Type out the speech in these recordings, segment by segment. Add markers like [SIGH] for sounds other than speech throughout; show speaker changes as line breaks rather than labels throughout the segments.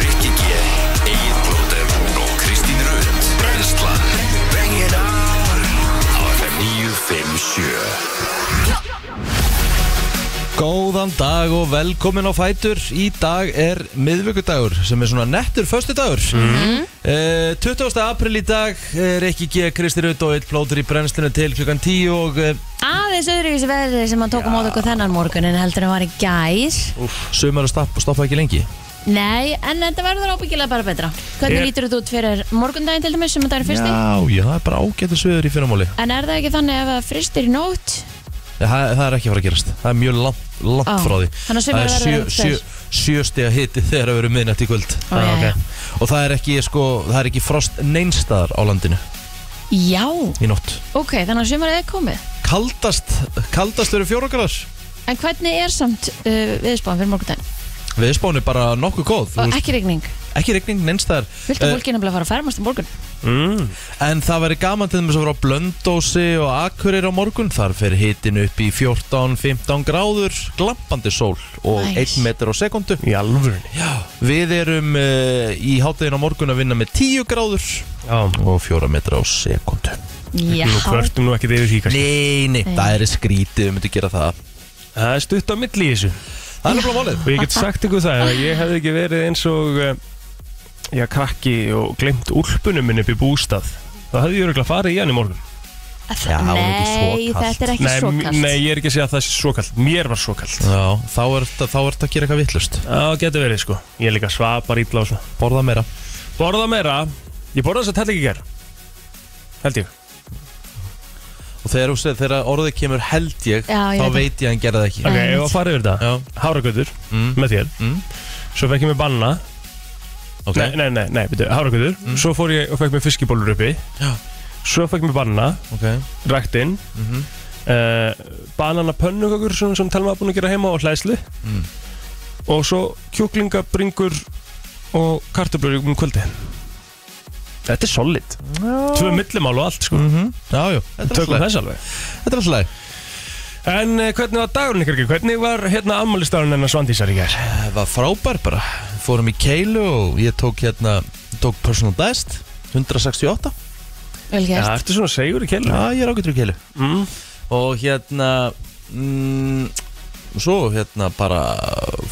Rikki G, Egil Blóter og Kristín Rund Brenslan Bring it on Á FM 957
Góðan dag og velkomin á Fætur Í dag er miðvöggudagur sem er svona nettur föstudagur mm
Mhm.
20. april í dag er ekki G. Kristi Rutt og eitt plótur í brennslinu til klukkan 10 og eh,
Aðeins öðruvísi veðri sem hann tók á mót okkur þennan morgunin heldur en var í gær
sumar að stoppa, stoppa ekki lengi
Nei, en þetta verður ábyggilega bara betra Hvernig
Er-
lítur þetta út fyrir morgundaginn til dæmis sem þetta er fyrsti?
Já, já, það er bara ágættu sviður í fyrramóli
En er það ekki þannig ef það fristir í nótt?
Eh, það, það er ekki að fara að gerast, það er mjög langt, langt
Á,
frá því
þannig að sumar
Það er
verður
sjö,
að
sjö,
vera
sjö stiga hiti þegar að vera miðnætt í kvöld
Ó, já, já.
Og það er ekki, sko, það er ekki frost neinstaðar á landinu
Já,
í nótt
ok, þannig að sumarið er komið
Kaldast, kaldast verður fjóragrás
En hvernig er samt uh, viðspáðan fyrir morgundaginn?
Viðspáin er bara nokkuð góð þú
Og
veist,
ekki rigning
Ekki regning neinstæðar
Viltu
Eh,
fólki nefnilega fara að fermast um morgun?
Mm.
En það væri gaman til þess að vera á Blöndósi og Akureyri á morgun Þar fer hitin upp í 14-15 gráður Glampandi sól og
Nice.
1 metr á sekundu
Í alvörunni
Já, við erum uh, í háttegin á morgun að vinna með 10 gráður
Já
Og 4 metr á sekundu
Já
Nú kvörtum nú ekkert yfir því kannski
Nei, nei, það er skrítið, við myndum gera það
Það er stutt á milli í þessu
Það er nefnilega málið
Og ég get sagt ykkur það að ég hefði ekki verið eins og eh, Já, krakki og glemt úlpunum minn upp í bústað Það hefði ég örgulega farið í hann í morgun
Það-
Já, það er ekki svo
Nei,
kalt.
þetta er ekki
nei,
svo
m-
kallt
nei, ég er ekki að segja að það sé svo kallt Mér var svo kallt
Já, þá er þetta að gera eitthvað vittlust
Já, getur verið sko Ég er líka svapar ítla og svona
Borða meira
Borða meira Ég borða þess að tella ekki ger Held ég
Og þegar, þú segir- þegar orðið kemur held ég
Já, ég
Þá
veit það.
veit ég að hann gera það ekki
Ok,
Nei,
ef að fara yfir þetta
Já,
Háragötur
mm,
með þér
Mm.
Svo fekk ég mér banna
ok Mm.
Nei, nei, nei, nei, byrju, háragötur Svo fór ég og fekk mér fiskibólur uppi
Já.
Svo fekk mér banna,
Ok,
ræktinn
Mhm.
uh, Banana pönnukökur sem, sem Telma er búin að gera heima á hlæslu
Mm.
Og svo kjúklingabringur og kartöblur um kvöldi Þetta er solid Tvö millimál og allt sko
-hmm. Já, já, þetta er
Tökum
alltaf
þess alveg
Þetta er alltaf
En eh, hvernig var dagurinn ykkur? ekki? Hvernig var hérna ammælistagurinn hennar Svandísar í gær?
Eh, Það var frábær bara Fórum í keilu og ég tók hérna Tók personal best 168
Vel
Já,
gert
ertu svona segur í keilu?
Já, ég er ágættur í keilu
Mm.
Og hérna mm, Svo hérna bara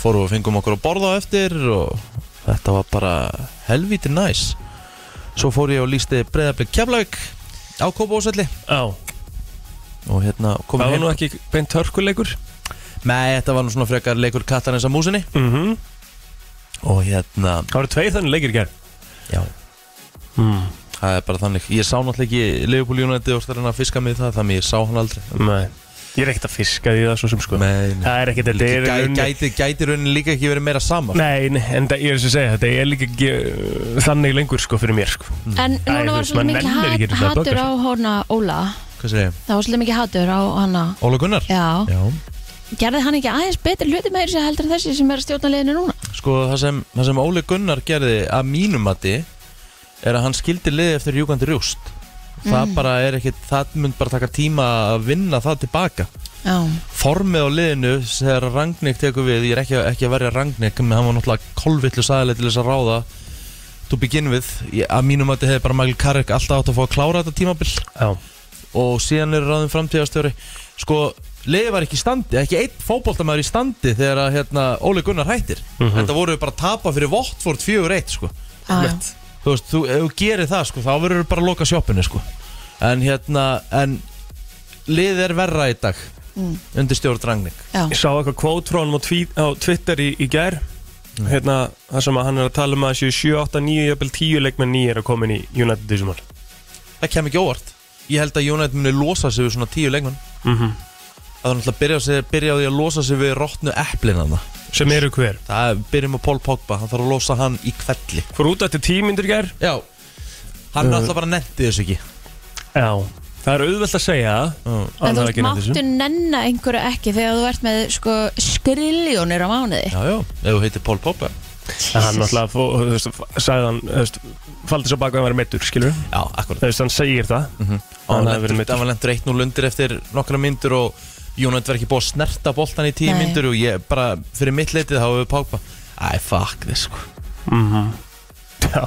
Fórum og fengum okkur að borða á eftir Og þetta var bara Helvíti næs Svo fór ég og lísti breyðablik keflavík Á Kópavóðsvelli
Já,
Og hérna komum
það var
heim
nú ekki beint hörkuleikur
Nei, þetta var nú svona frekar leikur kattarins að músinni
mm -hmm.
Og hérna
Það voru tveir þannig leikir í gær
Já
mm.
Það er bara þannig, ég sá náttúrulega ekki Leopold United og stærlega að fiska mig í það þannig ég sá hann aldrei
Nei, ég er ekkert að fiska því það svo sem sko
Men,
Það er ekkert að þetta er í
gæ,
rauninni-
gæti, gæti raunin líka ekki verið meira sko. saman
Nei, nei, en það, ég er þess að segja þetta Ég er líka ekki uh, þannig lengur sko fyrir mér sko
En
Æ,
núna
þú
var
veist,
svolítið
maður
mikið
nennir ekki
hat-
þess að
hatur
bögga
á hana Óla
Hvað segir ég?
Það var svolítið mikið hatur á hana
Óla Gunnar?
Já,
Já
gerði hann ekki aðeins betri hluti meiri sér heldur en þessi sem er að stjórna liðinu núna
Sko það sem, það sem Óli Gunnar gerði að mínum mati er að hann skildi liði eftir júkandi rjúst Það bara er ekkit, það mynd bara taka tíma að vinna það tilbaka
Já,
Formið á liðinu þegar Rangnick tekur við, ég er ekki, ekki að verja Rangnick menn hann var náttúrulega kolvillu sæðileg til þess að ráða to begin with Ég- að mínum að þetta hefði bara Michael Carrick alltaf átt að fá að klára þetta tímabil
Já,
og síðan eru ráðin framtíðastjóri sko, liðið var ekki í standi ekki einn fótboltamæður í standi þegar að hérna, Óli Gunnar hættir þetta voru bara að tapa fyrir Votford 4-1 sko.
já, já.
þú veist, þú, ef þú gerir það sko, þá verður þú bara að loka sjoppinu sko. en hérna en liðið er verra í dag
Mm.
undir stjórn Drangning
ég sá eitthvað kvót frá hann á, tví- á Twitter í, í gær
Mm.
Hérna, það sem að hann er að tala um að séu 7, 8, 9, jafnvel 10 leikmenn nýjir að koma inn í United þessum ál
það kem ekki óvart ég held að United muni losa sig við svona tíu leikmann
mm -hmm.
að það er náttúrulega byrja, á sig- byrja á því að losa sig við rottnu eplin hann
Sem eru hver
það er- byrjum á Paul Pogba, hann þarf að losa hann í kvelli
Fór út eftir 10 myndir í gær Uh.
já hann náttúrulega bara netti þessu ekki Mm.
Já Það er auðvelt að segja það
Já.
að
En
hann
þú
hafi
veist,
ekki nefnt þessu.
máttu nenna einhverju ekki þegar þú ert með sko skriljónir á mánuði
Já, já, ef þú heitir Pól Poppa
En hann náttúrulega, fó- þú veist, sagði hann, þú veist, faldi svo baka að hann væri meittur, skilur við?
Já, akkurat
Þú veist, hann segir það.
mm -hmm.
Hann
Hann
hafði verið
lentur-
meiddur.
hann var lendur 1-0 undir eftir nokkra myndur og Jónat var ekki búið að snerta boltan í tíu
Nei.
myndur og ég bara, fyrir mitt leitið þá hefur við Pogba Æ, fuck this sko
Mhm. Já,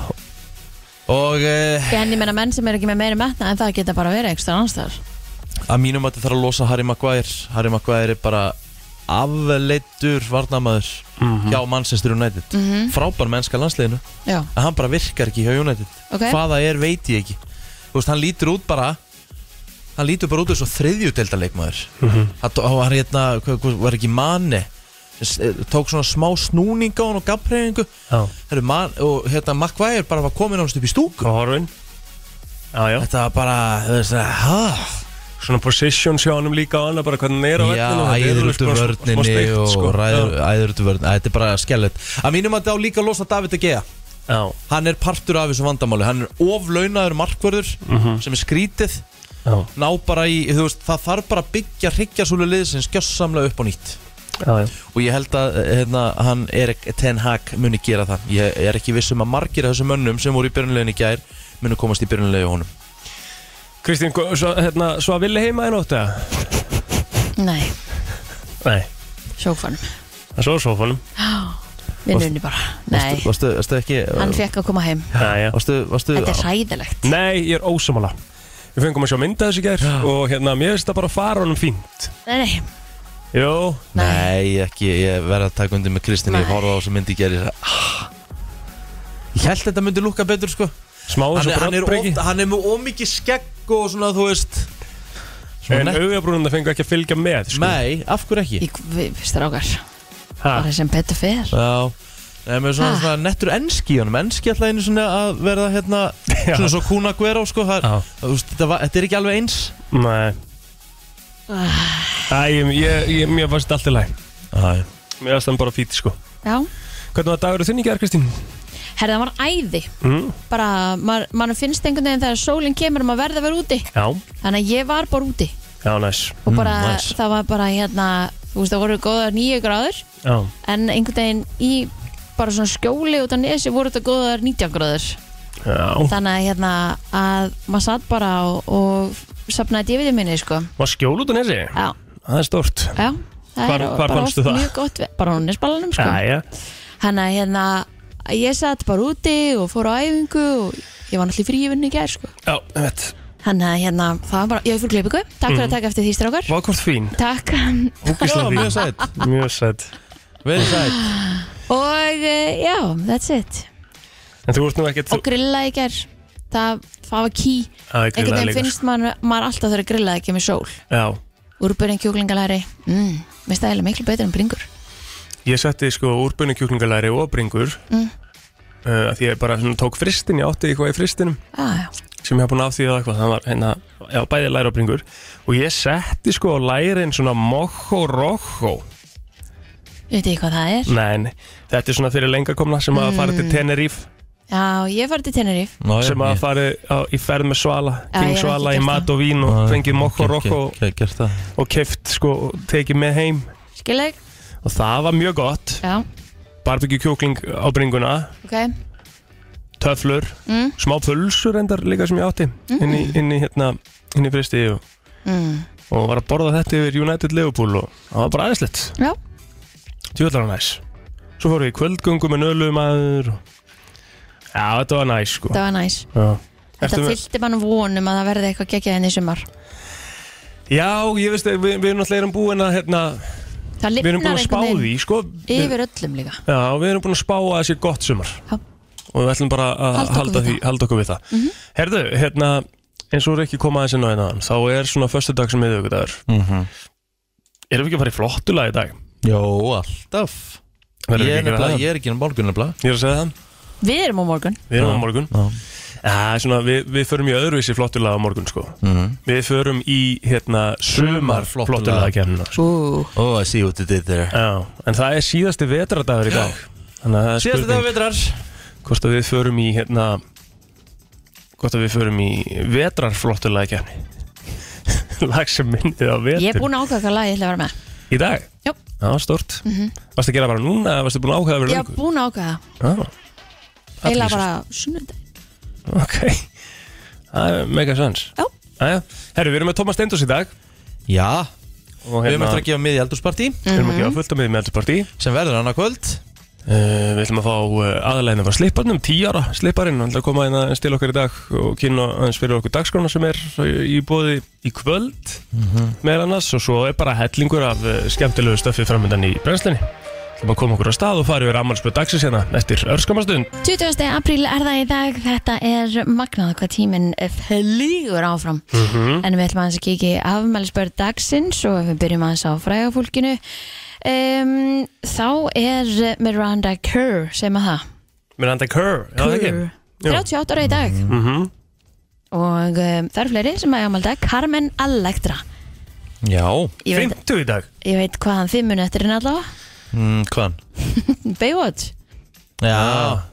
Og eh,
En ég menna menn sem eru ekki með meiri metna en það geta bara verið ekstra annarstar
að mínum að þetta þarf að losa Harry Maguire Harry Maguire er bara afleittur varnamaður
Mhm.
hjá Manchester United Frábær mennska landsliðinu
Já,
en hann bara virkar ekki hjá United
Ok.
Hvað það er veit ég ekki Þú veist, hann lítur út bara Hann lítur bara út eins og þriðjutelda leikmaður
Mhm.
Það tó- hann var hérna, hvað- hvað- var ekki manni Tók svona smá snúning á hann og gafbreyfingu
já
Herru, man, og hérna Maguire bara var komin á hans upp í stúku
Og horfin Já, já
Þetta var bara, þú veist, hæ
Svona position sjá honum líka á annað bara hvernig hann er á
Já,
vellinum, þetta er
æður
alveg
út úr
smá- smá
vörninni
steikt,
og
sko.
ræður, æður út úr vörninni Þetta er bara skellet Að mínum að þetta á líka að losa David að geða
Já,
Hann er partur af þessu vandamáli Hann er oflaunaður markvörður sem er skrítið
Mhm. já,
Ná bara í, þú veist, það þarf bara að byggja hryggjasúlu liðsins gjössamlega upp á nýtt
já, já
og ég held að hérna, hann er Ten Hag muni gera það ég er ekki viss um að margir af þessum mönnum sem voru í byrjunlegin í gær muni komast í byrjunlegin honum
Kristín, gu- svo, hérna, svo að villi heima í nótt eða?
nei,
Nei,
sjókfanum
það svo sófanum
Vinnunni bara, nei
Varstu, varstu ekki uh,
Hann fekk að koma heim
Já, uh, já
Varstu, varstu
Þetta er hræðilegt
Nei, ég er ósamála Við fengum að sjá mynda þessi gær og hérna, mér finnst það bara fara honum fínt
Nei, nei,
Jó,
nei
Nei, ekki, ég verði að taka undir með Kristín Ég
Nei.
horfði á þessu myndi í gær, ég sagði, ah. Ég held þetta myndi lúkka betur sko
smá
hann
þessu
er, hann, er
bröndbreki
of, hann er með ómikið skegg og svona þú veist svona
En
nett-
augabrúnum það fengur ekki að fylgja með sko.
Nei, af hverju ekki?
Ég, við, strákar,
Ha,
bara sem betur fer
Já Nei, með svona,
Ah.
svona nettur enski í honum Enski alltaf einu svona að verða hérna
Já.
Svona svo kúna guerá sko það,
Já.
er- þú veist, þetta, var, þetta er ekki alveg eins
Nei Æ, ég, ég, ég, mér fannst allt í læg
Æ.
Mér fannst það bara fít sko
Já,
Hvernig var dagur þinn í gær, Kristín?
herði það var æði
Mm.
Bara, maður maður finnst einhvern veginn þegar sólinn kemur og maður verði að vera úti
Já,
Þannig að ég var bara úti
já, næs
Og bara,
Mm, nice.
það var bara hérna Þú veist, það voru góðar nýju gráður
Já,
En einhvern veginn í bara svona skjóli út á nesi voru þetta góðar 19 gráður
já
Þannig að hérna að maður satt bara og, og safnaði DVD minni sko
Var skjól út á nesi?
Já,
Það er stort
já það
Hvar-
er
hvar
bara
fannstu
oft
það?
Mjög gott, við- bara á nesbalanum sko
Æja,
Þannig að hérna ég satt bara úti og fór á æfingu og ég var náttúrulega í frívinni í gær sko
já, ég veit
Þannig að hérna það var bara, já, ég fór klippingu Takk
Mm.
fyrir að taka eftir því strákar
Vákvort fín
Takk
Já,
Ógislega
mjög
fín
sætt
Mjög sætt
Vel sætt
Og eh, já, that's it
En þú ert nú ekkert
Og grilla í gær Það, það var ký
Það
Einhvern
er grillega
veginn
líka sko.
finnst maður, maður alltaf þurfa að grilla ekki með sól
Já
Úrbyrðin kjúklingalæri mm, Mér stæðilega miklu betur en bringur
Ég setti sko úrbunni kjúklingalæri og bringur mm. uh, Því ég bara svona, tók fristin, ég átti eitthvað í fristinum
ah, já.
sem ég hef búin að af því að eitthvað það var hérna, já, bæði læri og bringur og ég setti sko á lærin svona mojo rojo
Ég veit ekki hvað það er
Nein, þetta er svona fyrir lengakomna sem að fara til
Mm.
Tenerife
Já, ég farið til Teneríf
Ná, já,
sem að
ég-
fari á, í ferð með Svala
Já, ég
King
hef
Svala
ekki
í
gert
mat
það.
og vín og fengið mojo
Ge-
rojo
ge- ge- Gert það
og keft sko og tekið með heim
Skileg?
og það var mjög gott
Já,
barbecue kjúkling á bringuna
ok
töflur,
Mm.
smá pulsur endar líka sem ég átti inn, í, inn í hérna inn í fristi og,
mm.
og var að borða þetta yfir United Liverpool og það var bara aðeinslegt
Já,
Tjóðlar var næs Svo fórum við í kvöldgöngu með nölum aður og... Já, þetta var næs sko
það var næs
Já.
Þetta
Ertu með-
fyllti mann vonum að það verði eitthvað gekkið henni í sumar
Já, ég veist að við, við erum náttúrulega erum búin að hérna,
Það
Við erum búin
lifnar
að spá
einhvern
því sko
veginn
Við-
Yfir öllum líka
Já, við erum búin að spá að það sé gott sumar
Já.
Og við ætlum bara að
Halda okkur
halda,
við Mhm.
því, halda okkur við það Herðu, hérna eins og er ekki komað þessi náðin aðan hérna, þá er svona föstudag sem miðvikudagur
Mhm.
Erum við ekki að fara í flottulag í dag?
Jó, alltaf
Verðum
Ég
við
er,
ekki að gera
nefnilega,
það?
ég er ekki enn bálgun nefnilega
Ég er að segja það,
Við erum á morgun
við erum
Já.
á morgun
Já.
Já, svona, við, við förum í öðruvísi flottulag á morgun sko
Mhm.
Við förum í hérna sumar flottulag kemna sko.
Ú,
Oh, I see what you did there
Já, en það er síðasti vetradagur í dag Þannig að það er
Síðast
spurning
þetta vitrar
hvort að við förum í hérna hvort að við förum í vetrarflottulega kefni [LAUGHS] lag sem minnið á vetur
Ég er búin að ákvæða hvað lagi ég ætla að vera með
í dag,
Jó,
það var stort varstu að gera bara núna eða varstu búin að ákveða
ég
verið
er búin að ákvæða
löngu
Eila bara sunnudag
bara ok, það er mega sans
Já,
Æja. herru, við erum með Tómas Steindors í dag
Já,
Og
Við erum
hérna-
eftir að gefa miði eldurspartí
Við erum að gefa fullt á miðjum eldurspartí
sem verður annað kvöld
uh, Við ætlum að fá uh, aðalegin frá slipparnum, 10 ára slipparinn Þannig að koma hérna aðeins til okkar í dag og kynna aðeins fyrir okkur dagskrána sem er í bóði í kvöld
Mhm.
meðal annars og svo er bara hellingur af uh, skemmtilegu stöfið framöndan í brennslinni Það maður koma okkur á stað og fara yfir ammálspöð dagsins hérna eftir örskamastund
20. apríl er það í dag, þetta er magnað hvað tíminn eh, flýgur áfram
Mhm.
en við ætlum aðeins að kíkja í afmælisbörð dagsins og ef við byrjum aðeins á fræga fólkinu um, þá er Miranda Kerr sem að það,
Miranda Kerr, já það ekki
Kerr
Já.
38 ára í dag
mm
og um, það eru fleiri sem að ámæli dag Carmen Electra
Já,
ég veit,
50 í dag
ég veit hvaðan fimm minni eftir en allavega, [LAUGHS]
mm, hvaðan?
Baywatch
Já,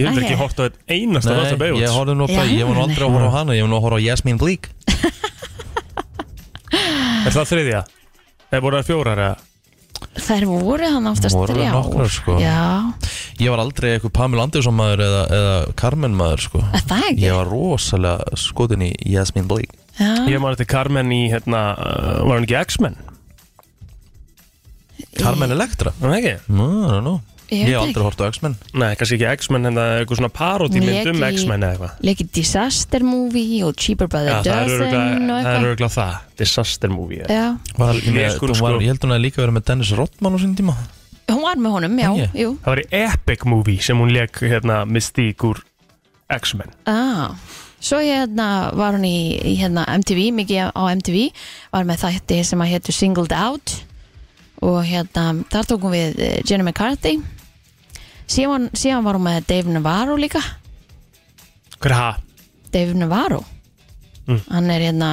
Ég hef ekki
Ok.
hort á einn einasta þátt að
Nei, ég
beigjóts
horfði nú bara,
Já.
ég var nú aldrei að horfa á hana, ég var nú að horfa á Jasmine Bleak
[LAUGHS] Er það þriðja? Nei, voru það fjórar eða?
þær voru hann oftast
Voru
þrjár.
nokkrar, sko.
já,
Ég var aldrei eitthvað Pamela Andersson maður eða, eða Carmen maður
[LAUGHS]
sko
Er það ekki
Ég var rosalega skotin í Jasmine Bleak
já,
Ég man eftir Carmen í, hérna, uh, var hann ekki X-Men?
Carmen Electra
Var hann ekki?
Nú, nú, nú Ég
Ég veit
hef
ekki.
aldrei hort á X-Men
Nei, kannski ekki X-Men, en það er eitthvað svona parodímynd um
Leki-
X-Men eða eitthvað.
leikið Disaster Movie og Cheaper by the
Já, það er
Dozen og
örugglega- það er
eitthvað
örgulega það. Disaster movie. eða.
Já,
var, ég, meina,
Ég sko-
hún var, ég held hún að líka verið með Dennis Rodman á sinni tíma
hún var með honum, já,
Ekki?
jú
Það var í Epic movie sem hún leik, hérna, Mystique úr X-Men.
ah. Svo hérna var hún í, í hérna, MTV, mikið á MTV var með þætti sem að hétu Singled Out og hérna þar tók hún við eh, Jenny McCarthy síðan, síðan var hún með Dave Navarro líka
Hver er það?
Dave Navarro
Mm.
hann er hérna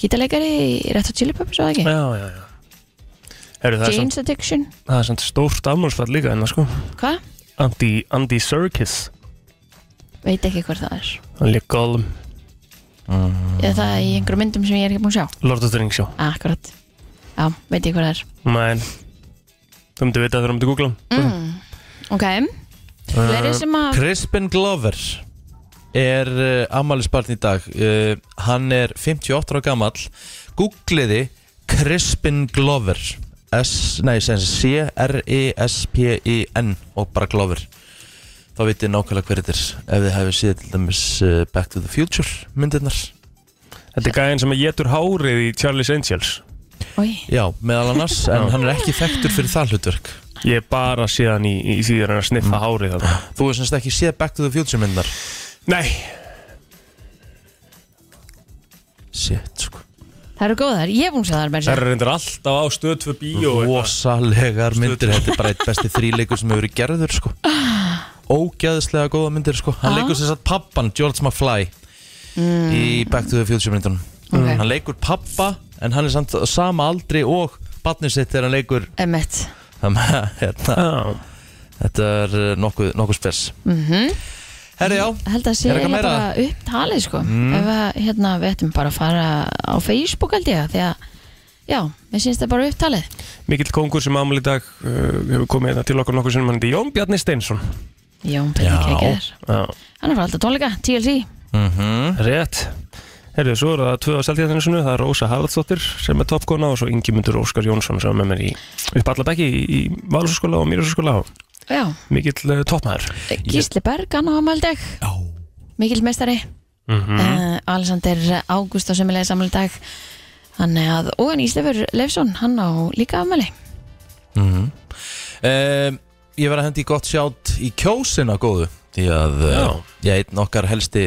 gítarleikari í Red Hot Chili Peppers og ekki
Já, já, já. Heru, það, er samt,
Jane's Addiction,
það er samt stórt afmálsfall líka, en það sko.
hvað?
Andy, Andy Serkis,
Veit ekki hver það er
hann leik Gollum,
eða það er í einhverjum myndum sem ég er ekki búin að sjá
Lord of the Rings, já.
Akkurat Já, veit ég hvað það er
Men, þú myndi vita þegar þú myndi googla hann.
mm. Ok,
Uh,
fleiri sem að
Crispin Glover er uh, ammælisbarn í dag uh, Hann er 58 ára gamall Googliði Crispin Glover S, nei, sem sagt E C-R-I-S-P-I-N og bara Glover þá vitið nákvæmlega hver þetta er ef þið hefur séð til dæmis uh, Back to the Future myndirnar
Þetta er gæðin sem að getur hárið í Charlie's Angels.
Új,
Já, meðal annars,
[LAUGHS]
en hann er ekki þekktur fyrir það hlutverk Mm.
Ég er bara síðan í, í því að hann að sniffa hárið þarna.
Þú er semst ekki séð Back to the Future myndar
Nei,
Shit, sko
Það eru góðar, ég er búin að sjá það
það
er
er reyndar alltaf á stöð tvö bíó eitthvað.
Rósalegar myndir, þetta er bara eitt besti þríleikur sem hefur verið gerður, sko Ógæðislega góða myndir, sko Hann
Ah.
leikur sem sagt pappan, George McFly í Back to the Future myndunum
Mm. Ok.
Hann leikur pappa, en hann er samt á sama aldri og barnið sitt þegar hann leikur
Emmett
þannig að, hérna,
Ah.
Já.
Þetta er eh, nokkuð, nokkuð spes
mm
Herri, já,
Held að það sé
Er eitthvað
eiginlega
meira? Mm.
bara upptalið sko Ef að, hérna, við ættum bara að fara á Facebook held ég Því að, já, mér syns það bara upptalið
Mikill kongur sem ámali í dag uh, hefur komið hérna til okkar nokkur sem hann heiti Jón Bjarni Steinsson
Jón Pétur
Já.
Kekir
Já,
Hann er frá alltaf tónleika, TLC
rétt Herðu, svo eru það tvö á seltjæðinsinu, það er Rósa Haraldsdóttir sem er toppkona og svo Ingimundur Óskar Jónsson sem er með mér í uppallabæki í, í Valursaskóla og Mýrarsaskóla og
Já,
mikill uh, toppmaður
Gísli Berg, hann á Amaldeg
Já.
Mikil meistari
mm
Mhm.
uh, Alexander Ágúst og sömulega samlega dag Þannig að, og en Íslefur Leifsson, hann á líka afmæli
Mm Ég verði að hendi gott sjátt í kjósina góðu Því að
Já.
uh, ég einn okkar helsti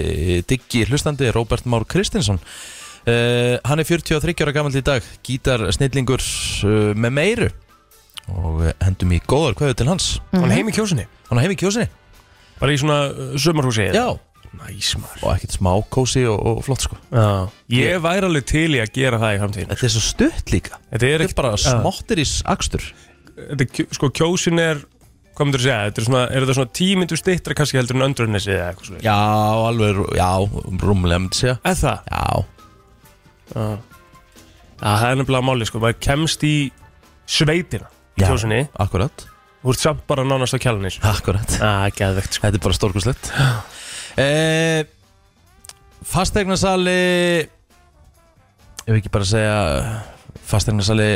diggi hlustandi er Róbert Már Kristinsson uh, Hann er 43 ára gamall í dag Gítar snillingur uh, með meiru Og eh, hendum í góðar kveðu til hans
Hann er heim í kjósinni,
Hann er heim í kjósinni
bara í svona uh, sumarhúsi
Já,
Næs maður
og ekkert smá kósi og, og flott sko
Já. Ég væri alveg til í að gera það í framtíðin
Þetta er svo stutt líka
Þetta er,
Þetta er
ekki,
bara
Já.
smottir í akstur
þetta, er kjó- sko kjósin er hvað myndur þú segja, þetta er svona, er þetta svona tímyndu stittra kannski heldur en öndrunnesi eða eitthvað svona
Já, alveg, rú- já, rúmlega myndi segja
eða það?
Já,
Já. Já, það er nefnilega máli sko, maður kemst í sveitina í
Já.
kjósinni,
akkurat,
þú ert samt bara nánast á kjálunni sko.
akkurat
Já, geðvegt sko
Þetta er bara stórkurslegt [GASPS] eh, Fastegnasali Ég vil ekki bara segja fasteignarsali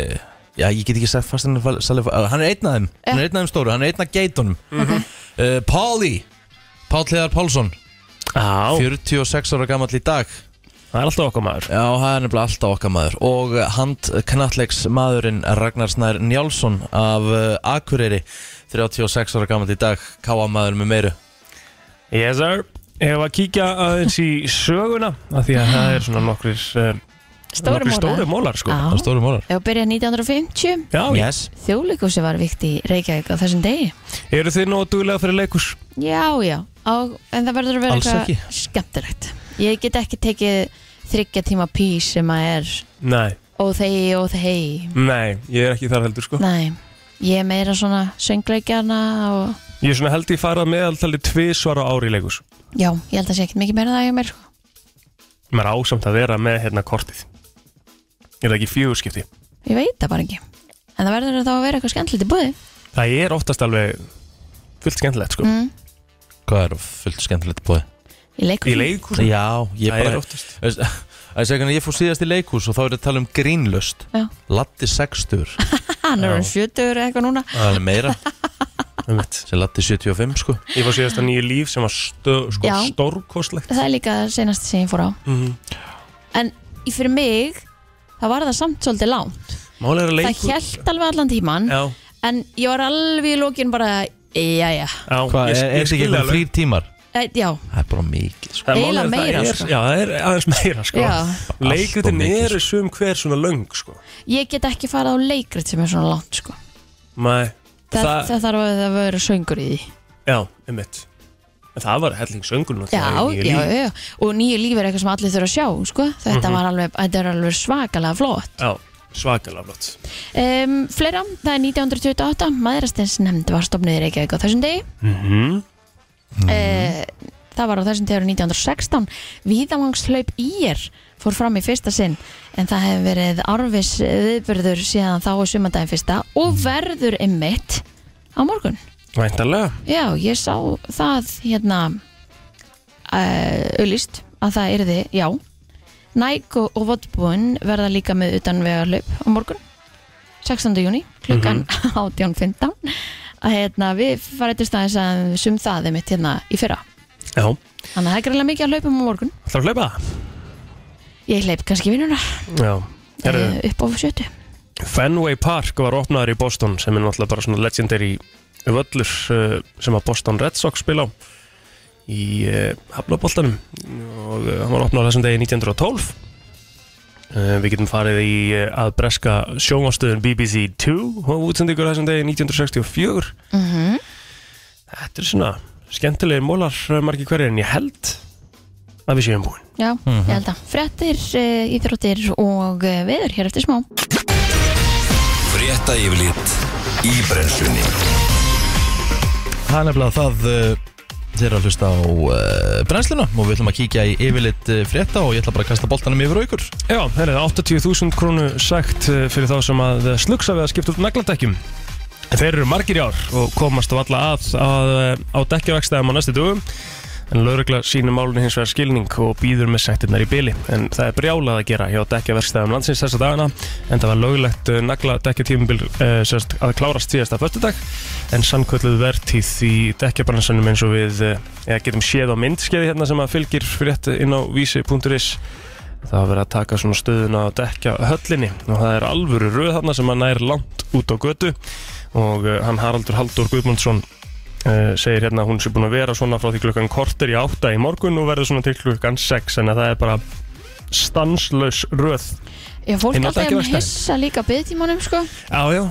Já, ég get ekki sagt fasteignarsali Hann er einn af þeim, hann er einn af þeim stóru Hann er einn af geitunum uh, Páli, Pál Hliðar Pálsson
Á,
46 ára gamall í dag
það er alltaf okkar maður
Já, það er nefnilega alltaf okkar maður og handknallegs maðurinn Ragnar Snær Njálsson af eh, Akureyri 36 ára gammal í dag, káa maður með meiru
Yes sir Ég var að kíkja aðeins í söguna af því að það er svona nokkrir eh,
Stórum
nokkrir stóri
orða
mólar sko
Já.
á stórum árar
Ef byrja 1950
Já,
Yes,
Þjóðleikúsi var vikt í Reykjavík á þessum degi
eru þið nóg duglega fyrir leikus?
Já, já, á, en það verður að vera
Alls ekki.
skemmtilegt Ég get ekki tekið þryggja tíma pís sem að er
Nei,
óþegi, óþegi
nei, ég er ekki þar heldur sko
Nei, ég er meira svona söngleikjana og
Ég er svona held ég farað meðaltali tvisvar á ári í leikus
já, ég held að sé ekkert mikið meira en það ég meir sko.
Maður er ásamt að vera með hérna kortið Er það ekki fjögurskipti?
Ég veit það bara ekki En það verður þá að vera eitthvað skemmtilegt í búði
Það er oftast alveg fullt skemmtilegt sko
mm.
hvað er fullt skemmtilegt búið?
Í leikum
Í leikus?
Já, ég
Það er
bara
oftast
Veist, Það er segjan að ég fór síðast í leikhús og þá er að tala um grínlöst
Já.
Latti 60
[LAUGHS] Hann er um 70 eða eitthvað núna
Það er meira
[LAUGHS] Einmitt.
sem Latti 75 sko
Ég fór síðast að nýju líf sem var stö, sko,
Já.
stórkostlegt
Það er líka senast sem ég fór á
Mhm.
En í- fyrir mig, það var það samt svolítið langt
Málega er að
Það
leikur
held alveg allan tíman
Já,
En ég var alveg í lókin bara Jæja,
já
Hvað, er,
ég- ég
er þetta
skil
ekki eitthvað
alveg.
þrýr tímar?
Æ, já,
Það er bara mikið sko
Það er málið
Eiginlega
að það
meira,
er-
sko.
Já, það er aðeins meira sko
já
Leikritin
Allt of mikið,
eru sum hver svona löng sko
Ég get ekki farið á leikrit sem er svona langt sko.
Nei,
það,
það,
það þarf að það vera söngur í því
já, einmitt En það var helling söngur
Já, já, já, og nýju lífi er eitthvað sem allir þurfa að sjá sko. Þetta
Mhm.
var alveg, þetta er alveg svakalega flott
já Svakalega flott
um, Fleira, það er 1928 Maðurastins nefnd var stofnið í Reykjavík á þessum degi
mm -hmm.
mm. það var á þessum tegur 1916 Víðamangslaup ír fór fram í fyrsta sinn en það hefur verið árvis viðbörður síðan þá og sumandaginn fyrsta og verður ymmit á morgun
Væntalega
já, ég sá það hérna auðlist að það yrði, já Nike og, og Vodbúinn verða líka með utanvegarlaup á morgun 16. júni klukkan [LAUGHS] 18.15 að hérna, við farið til staðins að sum það mitt hérna í fyrra
Já,
Þannig að það er greiðlega mikið að hlaupum á morgun.
ætlar að hlaupa
Ég hleyp kannski vinnuna
Já Herðu,
eh, upp á 70.
Fenway Park var opnaður í Boston sem er náttúrulega bara svona legendary völlur uh, sem að Boston Red Sox spila á í uh, Hafnaboltanum og uh, hann var opnaður þessum degi 1912 uh, Við getum farið í uh, að breska sjónvastöðun BBC 2 og útsendingur þessum degi 1964
Mm -hmm.
Þetta er svona skemmtilegir mólar uh, margir hverjir en ég held að við séum búin
Já, ég held að. Frettir, uh, íþróttir og uh, veður hér eftir smá.
Frétta yfirlit í brennslunni
sko. Það er nefnilega það uh, Þið eru að hlusta á uh, brennsluna og við ætlum að kíkja í yfirleitt uh, frétta og ég ætla bara að kasta boltanum yfir á ykkur
Já, það er 80.000 krónu sagt eh, fyrir þá sem að slugsa við að skipta út nagladekkjum. Þeir eru margir í ár og komast á alla að, að eh, á dekkjavegstæðum á næstu dögum en laurugla sínum málunni hins vegar skilning og býður með sættirnar í byli en það er brjálað að gera hjá dekkjaverkstæðum landsins þessa dagana en það var löglegt eh, nagla dekkjatímabil uh, sérst, að klárast síðasta föstudag en sannkölluð vertíð í dekkjabransanum eins og við uh, getum séð á myndskeiði hérna sem að fylgir frétt inn á vísi.is Það var verið að taka svona stöðuna að dekka höllinni og það er alvöru röð þarna sem að nær langt út á götu og uh, hann Haraldur Haldur Guðmundsson uh, segir hérna að hún sé búin að vera svona frá því klukkan korter í átta í morgun og verður svona til klukkan sex en að það er bara stanslaus röð
Já, fólk
Inn á
alltaf er að
dekkjaverkstæðin.
hissa líka byggtímanum, sko.
Já, já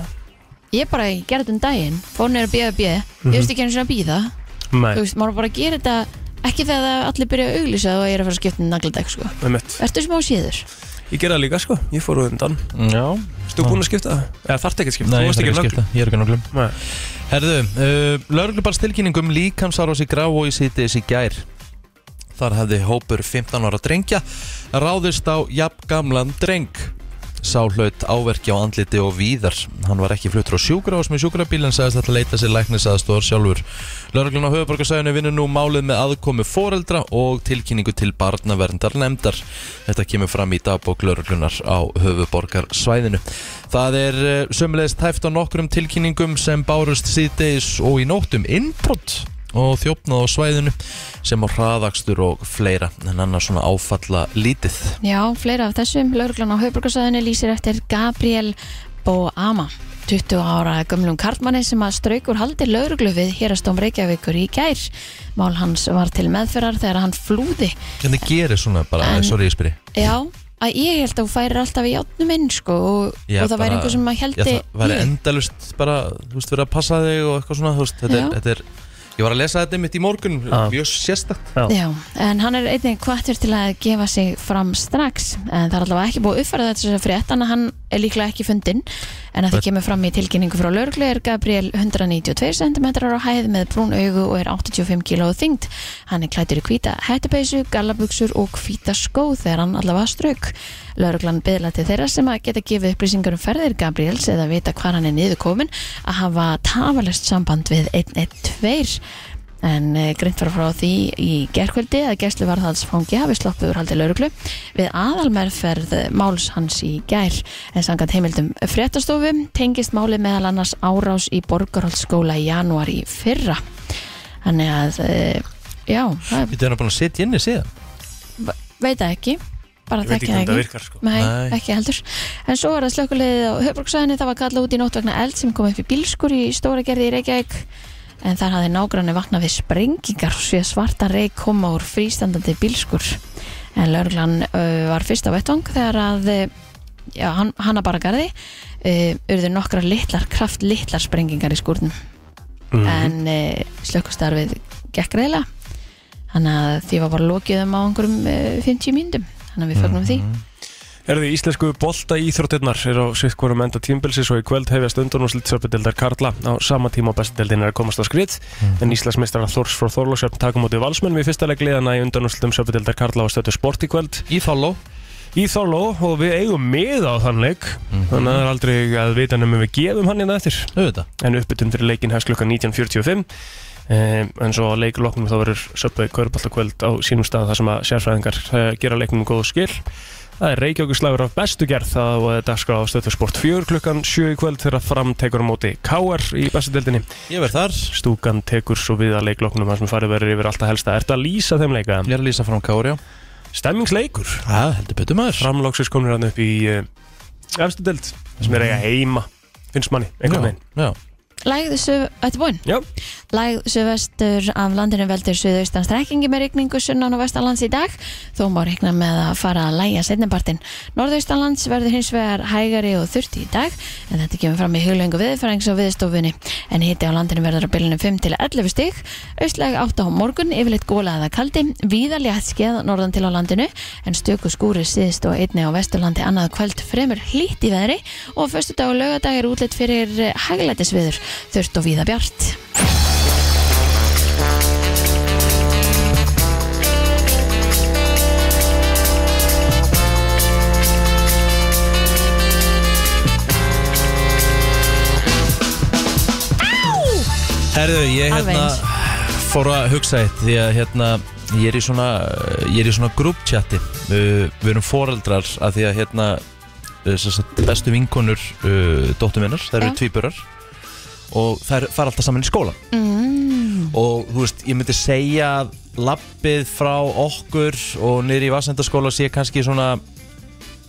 Ég bara gerði þetta um daginn, fór neyra að bíða að bíða.
Mhm.
Ég veist ekki einu sinni að bíða. Þú
Nei,
veist, maður bara gerir þetta ekki þegar það allir byrja að auglýsa og ég er að fara að skipta um nagladekk, sko.
með mitt
Ertu smá síður?
Ég gerði það líka sko, ég fór undan
Já
Stu búin að skipta það? Eða þarft ekki að skipta,
Nei,
þú
ég
varst
er ekki
ekki
að
nögl
skipta, ég er ekki að nöglum
Nei.
Herðu, uh, lauruglubars tilkynningum líkamsáros í grá og í sítis í gær Þar hafði hópur 15 ára drengja ráðist á jafngamlan dreng Sá hlaut áverki á andliti og víðar. Hann var ekki fluttur á sjúkrahús með sjúkrabíl en sagðist ætla að leita sér læknisaðstóðar sjálfur. Lörglun á höfuborgarsæðinu vinnur nú málið með aðkomi foreldra og tilkynningu til barnaverndar nefndar. Þetta kemur fram í dagbók lörglunar á höfuborgarsæðinu. Það er sömulegist tæft á nokkrum tilkynningum sem bárust síðdeis og í um nóttum innbrott og þjófnað á svæðinu sem á hraðakstur og fleira en annars svona áfalla lítið
Já, fleira af þessum. Lauruglan á Hauðbrukarsæðinu lýsir eftir Gabriel Boama, 20 ára gömlum karlmanni sem að straukur haldi lauruglu við hérastóm Reykjavíkur í gær. Mál hans var til meðferðar þegar hann flúði.
hvernig gerir svona bara,
En-
sorry ég spyrir
Já, að ég held að hún færir alltaf í játnum inn, sko, og, og það væri einhver sem að heldi...
já, það væri
lífi.
endalust bara, þú veist, verið að passa þig og eitthvað svona, þú veist, þetta er,
Já.
þetta er ég var að lesa þetta mitt í morgun,
Já.
mjög sérstakt
Já, en hann er einnig kvartur til að gefa sig fram strax en það er allavega ekki búið að uppfæra þetta sem frétt þannig að hann er líklega ekki fundinn en að því kemur fram í tilkynningu frá lögreglu er Gabriel 192 cm á hæð með brún augu og er 85 kg þyngd. Hann er klættur í hvíta hættupeysu, gallabuxur og hvíta skó þegar hann allavega strauk. Lögreglan byðla til þeirra sem að geta gefið upplýsingar um ferðir Gabriels eða vita hvar hann er niður komin að hafa tafalest samband við 112 en eh, greint var frá því í gerkvöldi að gæslu var það sfangi hafi sloppið úr haldi lauruglu við aðalmerferð máls hans í gær en sangat heimildum fréttastofu tengist máli meðal annars árás í borgarhaldsskóla í janúar í fyrra þannig að eh, já, það
við erum búin að setja inni síðan
veit það ekki bara
Ég veit
þekki
ekki
það
hvernig það
ekki
virkar sko
Nei,
Nei.
ekki heldur. En svo er það slökulegið á höfbruksæðinni, það var kallað út í nótt vegna eld sem kom upp í bílskur í stóra gerði í Reykjavík en þar hafði nágranni vaknað við sprengingar og sé svarta reik koma úr frístandandi bílskur. En lauruglan uh, var fyrst á vettvang þegar að uh, já, hann, hanna bara garði uh, urðu nokkra litlar, kraft litlar sprengingar í skúrnum
Mhm.
en uh, slökkustarfið gekk reyla þannig að því var bara lokið um á einhverjum uh, 50 mínútum þannig að við fagnum því
Mhm.
Mhm. Er því íslensku bolta íþróttirnar er á sitt hverjum enda tímbilsis og í kvöld hefjast undan og slitsöpudildar Karla á sama tíma og bestildin er að komast á skrið
Mm.
en Íslandsmeistarna Þórs frá Þorlóksjöfn takum út í valsmennum í fyrsta legliðana í undan og slitsöpudildar Karla á stötu sport í kvöld
í follow,
í Þorló og við eigum mið á þann leik
Mhm.
þannig að það er aldrei að vita nefnum við gefum hann hérna eftir
auðvitað
en uppbytun fyrir leikin hefst klukkan 19.45 um, en svo að leikloknum þá verður söpvei kvörballakvöld á sínum stað þar sem að sérfræðingar uh, gera leiknum góð skil Það er Reykjavíkuslagur af bestu gerð það og dagskrá á stöðfjör sport 4 klukkan 7 í kvöld þegar fram tekur á móti KR í bestu deildinni.
ég verð þar,
Stúkan tekur svo við að leikloknum þar sem farið verður yfir alltaf helsta. Ertu að lýsa þeim leika?
ég er að lýsa fram Kári á
Stemmingsleikur?
það heldur betur maður
Framlóksis komir hann upp í uh, efstu deild sem er eiga heima finnst manni, einhvern veginn.
já, já.
Lægð suð, ætti búinn?
Já.
Lægð suðvestur af landinu veldur suðaustan strekkingi með rigningu sunnan og vestanlands í dag þó má regna með að fara að læja setnibartin. Norðaustanlands verður hins vegar hægari og þurfti í dag en þetta kemur fram í huglöngu viðfærings og viðstofunni en hitti á landinu verður á bylunum 5 til 11 stig austlæg 8 á morgun, yfirleitt góla eða kaldi, víðalétt skeð norðan til á landinu en stöku skúri síðst og einni á vesturlandi annað kvöld fremur hlýtt í veðri og fyrstu dag og lögadag er útlitt fyrir hæglætisviður, þurft og víða bjart.
Herðu, ég
Alveg
hérna fór að hugsa eitt því að hérna ég er í svona, ég er í svona grúpchatti uh, við erum foreldrar að því að hérna uh, sem sagt, bestu vinkonur uh, dóttur minnar, þær eru
Já.
tvíburar og þær fara alltaf saman í skóla
Mm.
og þú veist, ég myndi segja að lappið frá okkur og niður í vassendaskóla sé kannski svona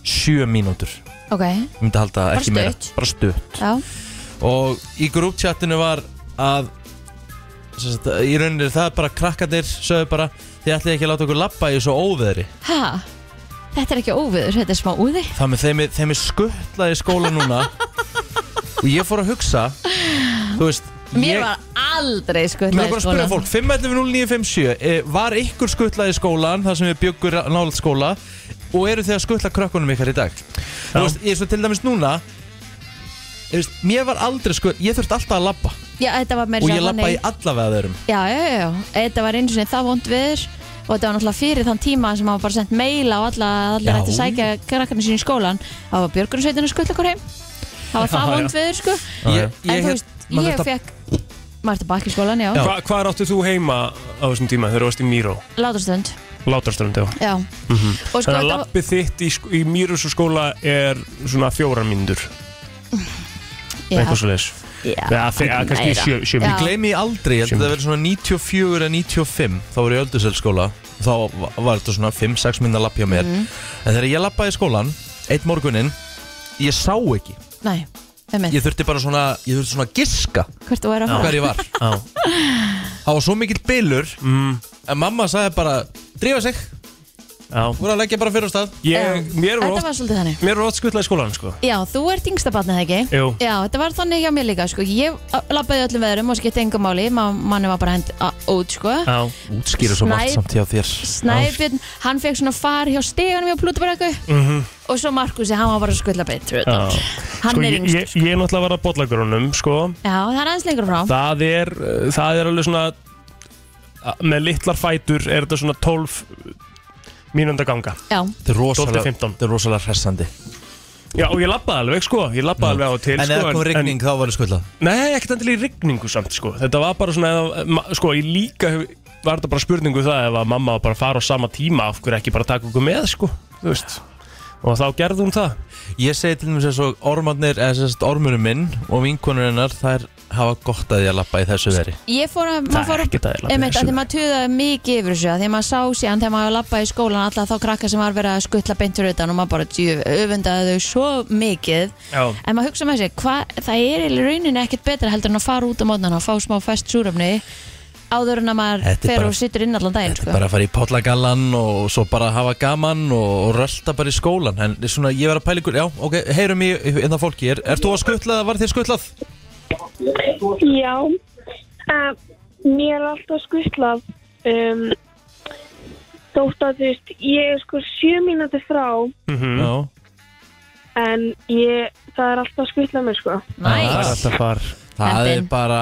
sjö mínútur ég
Ok,
myndi halda
Bara
ekki meira
stutt.
bara stutt
já,
og í grúptjattinu var að sem sagt, í rauninni er það bara krakkandir sögðu bara þið ætlið ekki að láta okkur lappa í svo óveðri
ha, þetta er ekki óviður, þetta er smá úði.
það með þeim, er- þeim er skuttlaði skóla núna og ég fór að hugsa þú veist
Mér
ég,
var aldrei sko,
Mér er
skutlaði
bara að spyrja fólk, 5.11.0957 eh, Var ykkur skuttlaði skólan þar sem við bjöggur nálat skóla og eru þið að skuttla krökkunum ykkar í dag Þú veist, ég er svo til dæmis núna þú veist, Mér var aldrei skutt Ég þurfti alltaf að lappa
Já, þetta var meira
og ég
saman
lappa í
í...
allavega þeirrum
Já, já, já, já, þetta var eins og það vond viður og þetta var náttúrulega fyrir þann tíma sem hann var bara sendt mail á alla að allir
Já.
ætti að sækja krakkarnir sín í skólan þá var björgunarsveitin að skutla okkur heim
[LAUGHS]
það var það
Já, já.
vond veður sko
Ég, ég,
en þú
hét-
veist,
maður
ég
þetta-
fekk maður þetta bakk í skólan, já,
Hva, Hvað áttu þú heima á þessum tíma þegar þú varst í Míró?
látastönd
Látarströnd, já
já, og sko
Þannig að
þetta var-
lappið þitt í, sk- í Mýrususkóla er svona fjórar mínútur
já,
eitthvað svo leis
já,
eða fe- eða kannski
meira.
sjö, sjö
Ég
mínútur
gleymi því aldrei, ég held að það verið svona 94 eða 95 Þá var ég ölduselsskóla Þá va- var þetta svona 5-6 minna lapp hjá mér
Mhm.
En þegar ég lappaði í skólan Eitt morguninn Ég sá ekki
nei, einmitt
Ég þurfti bara svona Ég þurfti svona að giska
hvert þú er að fara
hver ég var Það var svo mikill bylur
Mm,
En mamma sagði bara Drífa sig,
já.
voru að leggja bara fyrir á stað
ég, mér var
þetta
oft
var svolítið þannig
Mér var oft skutlað í skólan sko
já, þú ert yngstabatnið ekki
Jú,
Já, þetta var þannig hjá mér líka, sko. Ég lappaði öllum veðurum og skipti engum máli, Ma manni var bara hend a- út, sko.
já,
Útskýra svo margt
Snæ-
samt hjá þér
Snæbjörn, hann fekk svona far hjá stegunum hjá Plútabrekku og svo Markusi, hann var bara skulla beitt,
já.
Mhm. hann
Sko,
er
ég,
yngstur.
ég, ég er náttúrulega var að bollagrunum sko
Já, það er aðeins lengur frá.
það er, uh, það er alveg svona a- með litlar fætur er þetta svona 12 mínunda ganga
Já,
Þetta er rosalega,
12-15.
þetta er rosalega hressandi
Já, og ég labbaði alveg sko, ég labbaði alveg á og til
En
sko,
eða kom rigning þá var það skuldað
Nei, ekkert endilega í rigningu samt sko Þetta var bara svona, eða- ma- sko, ég líka hef- var þetta bara spurningu það ef að mamma var bara að fara á sama tíma, af hverju ekki bara taka okkur með sko, þú veist Og þá gerði hún um það
Ég segi til dæmis eins og ormarnir, eða sérst ormurinn minn og vinkonur hennar, þær hafa gott að því að lappa í þessu veri.
ég fór að, maður
Það
fór
er
að,
ekkert aðeins
einmitt, að því maður tuðaði mikið yfir þessu, að því maður sá síðan þegar maður lappaði í skólan alla þá krakka sem var verið að skutla beintur utan og maður bara djöf, öfundaði þau svo mikið.
Já,
En maður hugsa með sér, hva, það er í rauninni ekkert betra heldur en að fara út á mótnana og fá smá fest súröfni áður en að maður
Þetta er
fer
bara-
og sittur inn allan daginn
Þetta
sko.
er bara að fara í pollagallan og svo bara hafa gaman og, og rölda bara í skólan. En svona, ég verð að pæla ykkur, já, ok, heyrum í innan fólki. Er, er þú að skutlað eða var þér skutlað?
Já, uh, mér er alltaf skuttlað um, þótt að þú veist, ég er sko sjö mínúti frá
mhm
Já.
en ég, það er alltaf skuttlað mér sko.
Það er
Ah.
Næs.
alltaf far
Það er
Heppin.
bara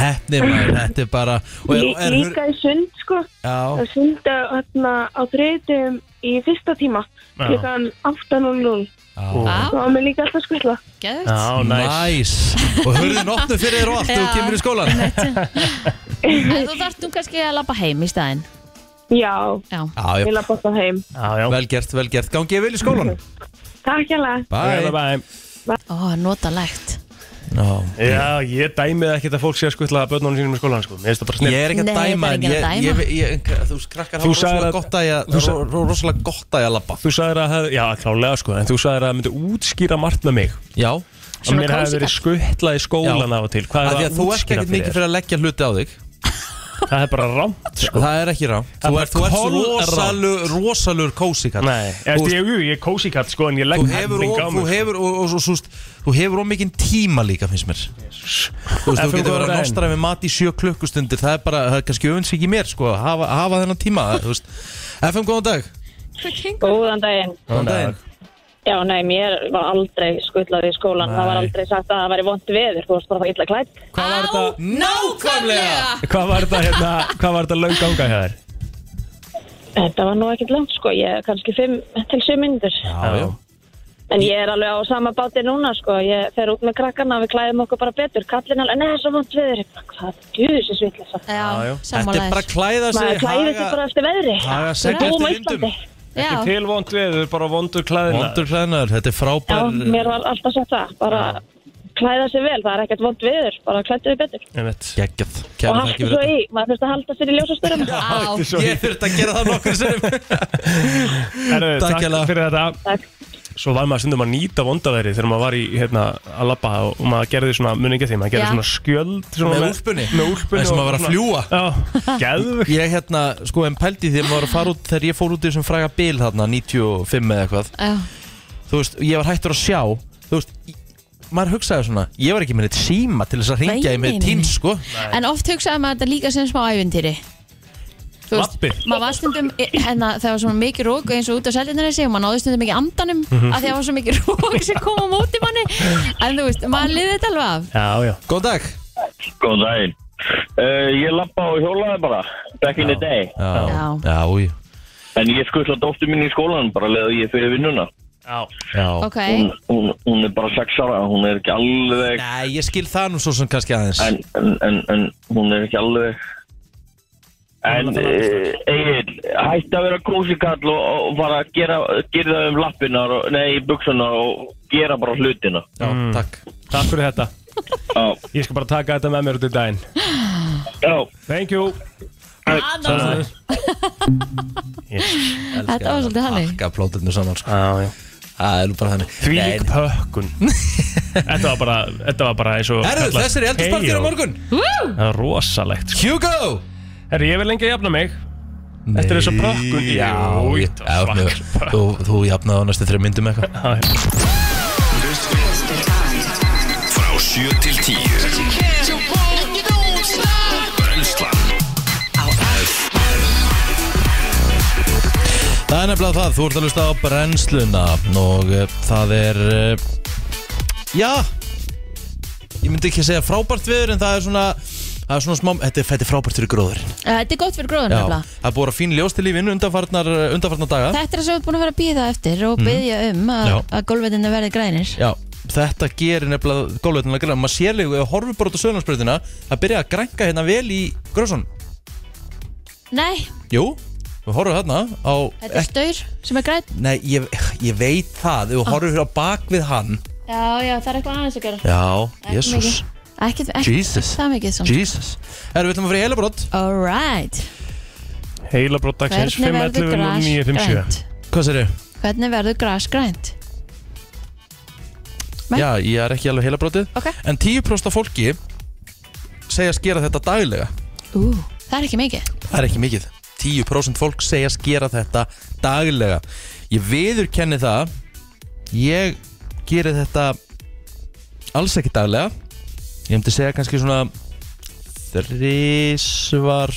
hefni maður, þetta er bara... og
Ég, líka í sund sko, það
já,
er sund að, hérna, á þriðutum í fyrsta tíma
Já.
klukkan 8.00
já.
Á,
þá er mér líka alltaf skuttlað.
geðveikt.
Já, næs
Næs. Og hörðu notnu fyrir þér og allt þegar þú
Já.
kemur í skólan.
[LAUGHS]
En Þú þarft nú kannski að lappa heim í staðinn
Já,
Já,
Já,
ég
já,
lappa alltaf heim.
Já, já
vel gert, vel gert. Gangi ég vel í skólan.
Takk hérlega.
Bye, bye.
ó, notalegt
Já.
Já, ég dæmið ekkert að fólk sé að skutla börnunum sínum í skólan sko. Mér finnst það bara
Ég
snill
er ekki að
Nei,
dæma
það er
en
ekki að
ég,
dæma.
ég, ég, þú veist, krakkar hafa
Þú sagðir
rosalega
að-
gott að ég
þú sagðir-
ro- ro- rosalega gott að ég labba
Þú sagðir að, það- já klálega sko En þú sagðir að það myndi útskýra margt með mig
Já,
Að mér
kósí
hefði verið skutlað í skólan
Já.
af og til Hvað
af
er
því að þú ert
útskýra
ekkert mikið
fyrir
fyrir að leggja hluti á þig
þér? Það er bara rámt sko
Það er ekki rám
Það
Þú
er
ert þú ert
bara
svo
kolrangt.
rosalur, rosalur kósikall
Nei, ég,
Þú-
ég, jú, ég er kósi katt sko en ég legg
Þú hefur,
hending á
og, þú
mig sko.
hefur, og, og, og, svo- svo- þú hefur of mikinn tíma líka finnst mér Þú veist,
En
þú getur
fyrir góðan
verið að
daginn.
nostra við mat í sjö klukkustundir Það er bara, það er kannski öfins ekki mér sko, að hafa, hafa þennan tíma þú veist. FM, góðan dag
Góðan daginn.
Góðan
dag.
Já, nei, mér var aldrei skutlað í skólan.
Nei.
Það var aldei sagt að það væri vond veður. Þú varst bara að fá illa klætt.
Hvað var þetta,
Nákvæmlega
hvað var þetta, hérna, hvað var þetta löng ganga hjá þér?
Þetta var nú ekkert langt, sko. Ég er kannski 5 til 7 minnir.
Já, já
En ég er alveg á sama báti núna, sko. Ég fer út með krakkana og við klæðum okkur bara betur. Kallin alveg, neða, svo vond veður. Ég bara, Hvað djúðis er svitlega það?
Já, já.
Já,
Þetta er bara
sammálaðis
að klæða sig
Maður klæðir sig bara eftir veðri.
haga segla
Búum á
eftir
Íslandi.
vindum
Ekki
Já,
til vond veður, bara vondur klæðina
Vondur klæðnar, þetta er
Já,
frábær
mér var alltaf sagt það. Bara klæða sig vel. Það er ekkert vond veður. Bara klættu þig betur.
eh,
Einmitt.
Geggjað,
Og
kæra þakki
halda
fyrir
svo
þetta
í. Maður þurft að halda sér í ljósastörum.
á,
Ég þurfti að gera það nokkur
[LAUGHS]
sinnum
Herru,
Takk
Takk
hérlega.
fyrir þetta
Takk.
Svo var maður stundum að nýta vondaveðri þegar maður var í hérna, að labba og og maður gerði svona, muni ekki því, maður gerði
Já.
svona skjöld svona
Með úlpunni.
Með úlpunni
Eins og maður var að
[LAUGHS]
fljúga.
Já, geðvögt
Ég hérna, sko, en pældi því að maður var að fara út þegar ég fór út í þessum fræga bil þarna 95 eða eitthvað
já
Þú veist, ég var hættur að sjá Þú veist, í- maður hugsaði svona Ég var ekki með neitt síma til þess að ringja
Nei,
í með
nei, nei.
tíms, sko
En oft hugsaði maður þetta líka sem smá ævintýri Þú veist,
Labbi.
maður var stundum hérna, það var svona mikið rók eins og út á seljinarnesi og maður náði stundum ekki andanum af því að það var svo mikið rók sem kom á móti manni en þú veist, maður liði þetta alveg af
Já, já
Góðan dag
Eh, Góðan daginn. Uh, ég lappa og hjólaði bara. back in the day
Já, já, já,
En ég skuttla dóttu mín í skólan bara leða ég fyrir vinnuna
já.
Ok,
hún, hún, hún er bara 6 ára Hún er ekki alveg
Nei, ég skil það nú svo sem kannski aðeins
en, en, en, en hún er ekki alveg En Egil, hætti að vera kósikall og, og bara gera, gera um lappinar og, Nei, buksunar og gera bara hlutina
Já, takk
Mm. Takk fyrir þetta
Já,
Ég skal bara taka þetta með mér út í daginn
já
Thank you Anna
þetta var svolítið hannig
Akka plótirnu saman sko.
Já, já
Það er nú bara þannig
Því
Nei,
lík
[LAUGHS]
pökkun Þetta var bara, þetta var bara eins og
Herðu, þessi er eldurspartir á morgun
Það er rosalegt sko.
Hugo
Herru, ég vil lengi að jafna mig Þetta er eins og pökkun
Já,
Jú,
ég,
þetta
já
var
mjög-
svakar pökkun.
þú, þú jafnaði á næstu þreim myndum eitthvað
Frá 7 til 10 Brennslan
Það er nefnilega það, þú ert að lusta á brennsluna og uh, það er uh, já ég myndi ekki að segja frábært viður en það er svona Það er svona smá, þetta er, þetta er frábært fyrir gróður Já,
Eh, Þetta er gott fyrir
það
gróðun nefnilega
er búið að fín ljós til lífinu undanfarnar, eh, undanfarnar daga
Þetta er það sem við erum búin að vera að býða eftir og byggja um að,
Mhm. Já.
að gólfetinu verði grænir
Já, þetta gerir nefnilega gólveitinu að græna Maður sér líka, ef horfum bara út á söðunarspreytina Það byrja að grænka hérna vel í gróðsson
Nei,
Jú, við horfum þarna á
þetta er
ekki,
staur sem er græn
Nei, ég, ég veit það, ef
Ah.
við horfum hérna á bak við hann
Já, já, það er eitthvað aðeins að gera
Já, jésús
Ekkert, ekkert,
Jesus,
það mikið svona
Jesus Erum við ætlum að fyrir heilabrótt?
Alright,
Heila brot dagsins
hvernig verður
511
græs
957
grænt?
Hvað sér ég?
Hvernig verður græs grænt? Nei.
Já, ég er ekki alveg heilabrótið
Ok.
En 10% af fólki segjast gera þetta daglega
Ú, það er ekki mikið
Það er ekki mikið 10% fólk segjast gera þetta daglega Ég viðurkenni það Ég geri þetta alls ekki daglega Ég hefndi segja kannski svona þrísvar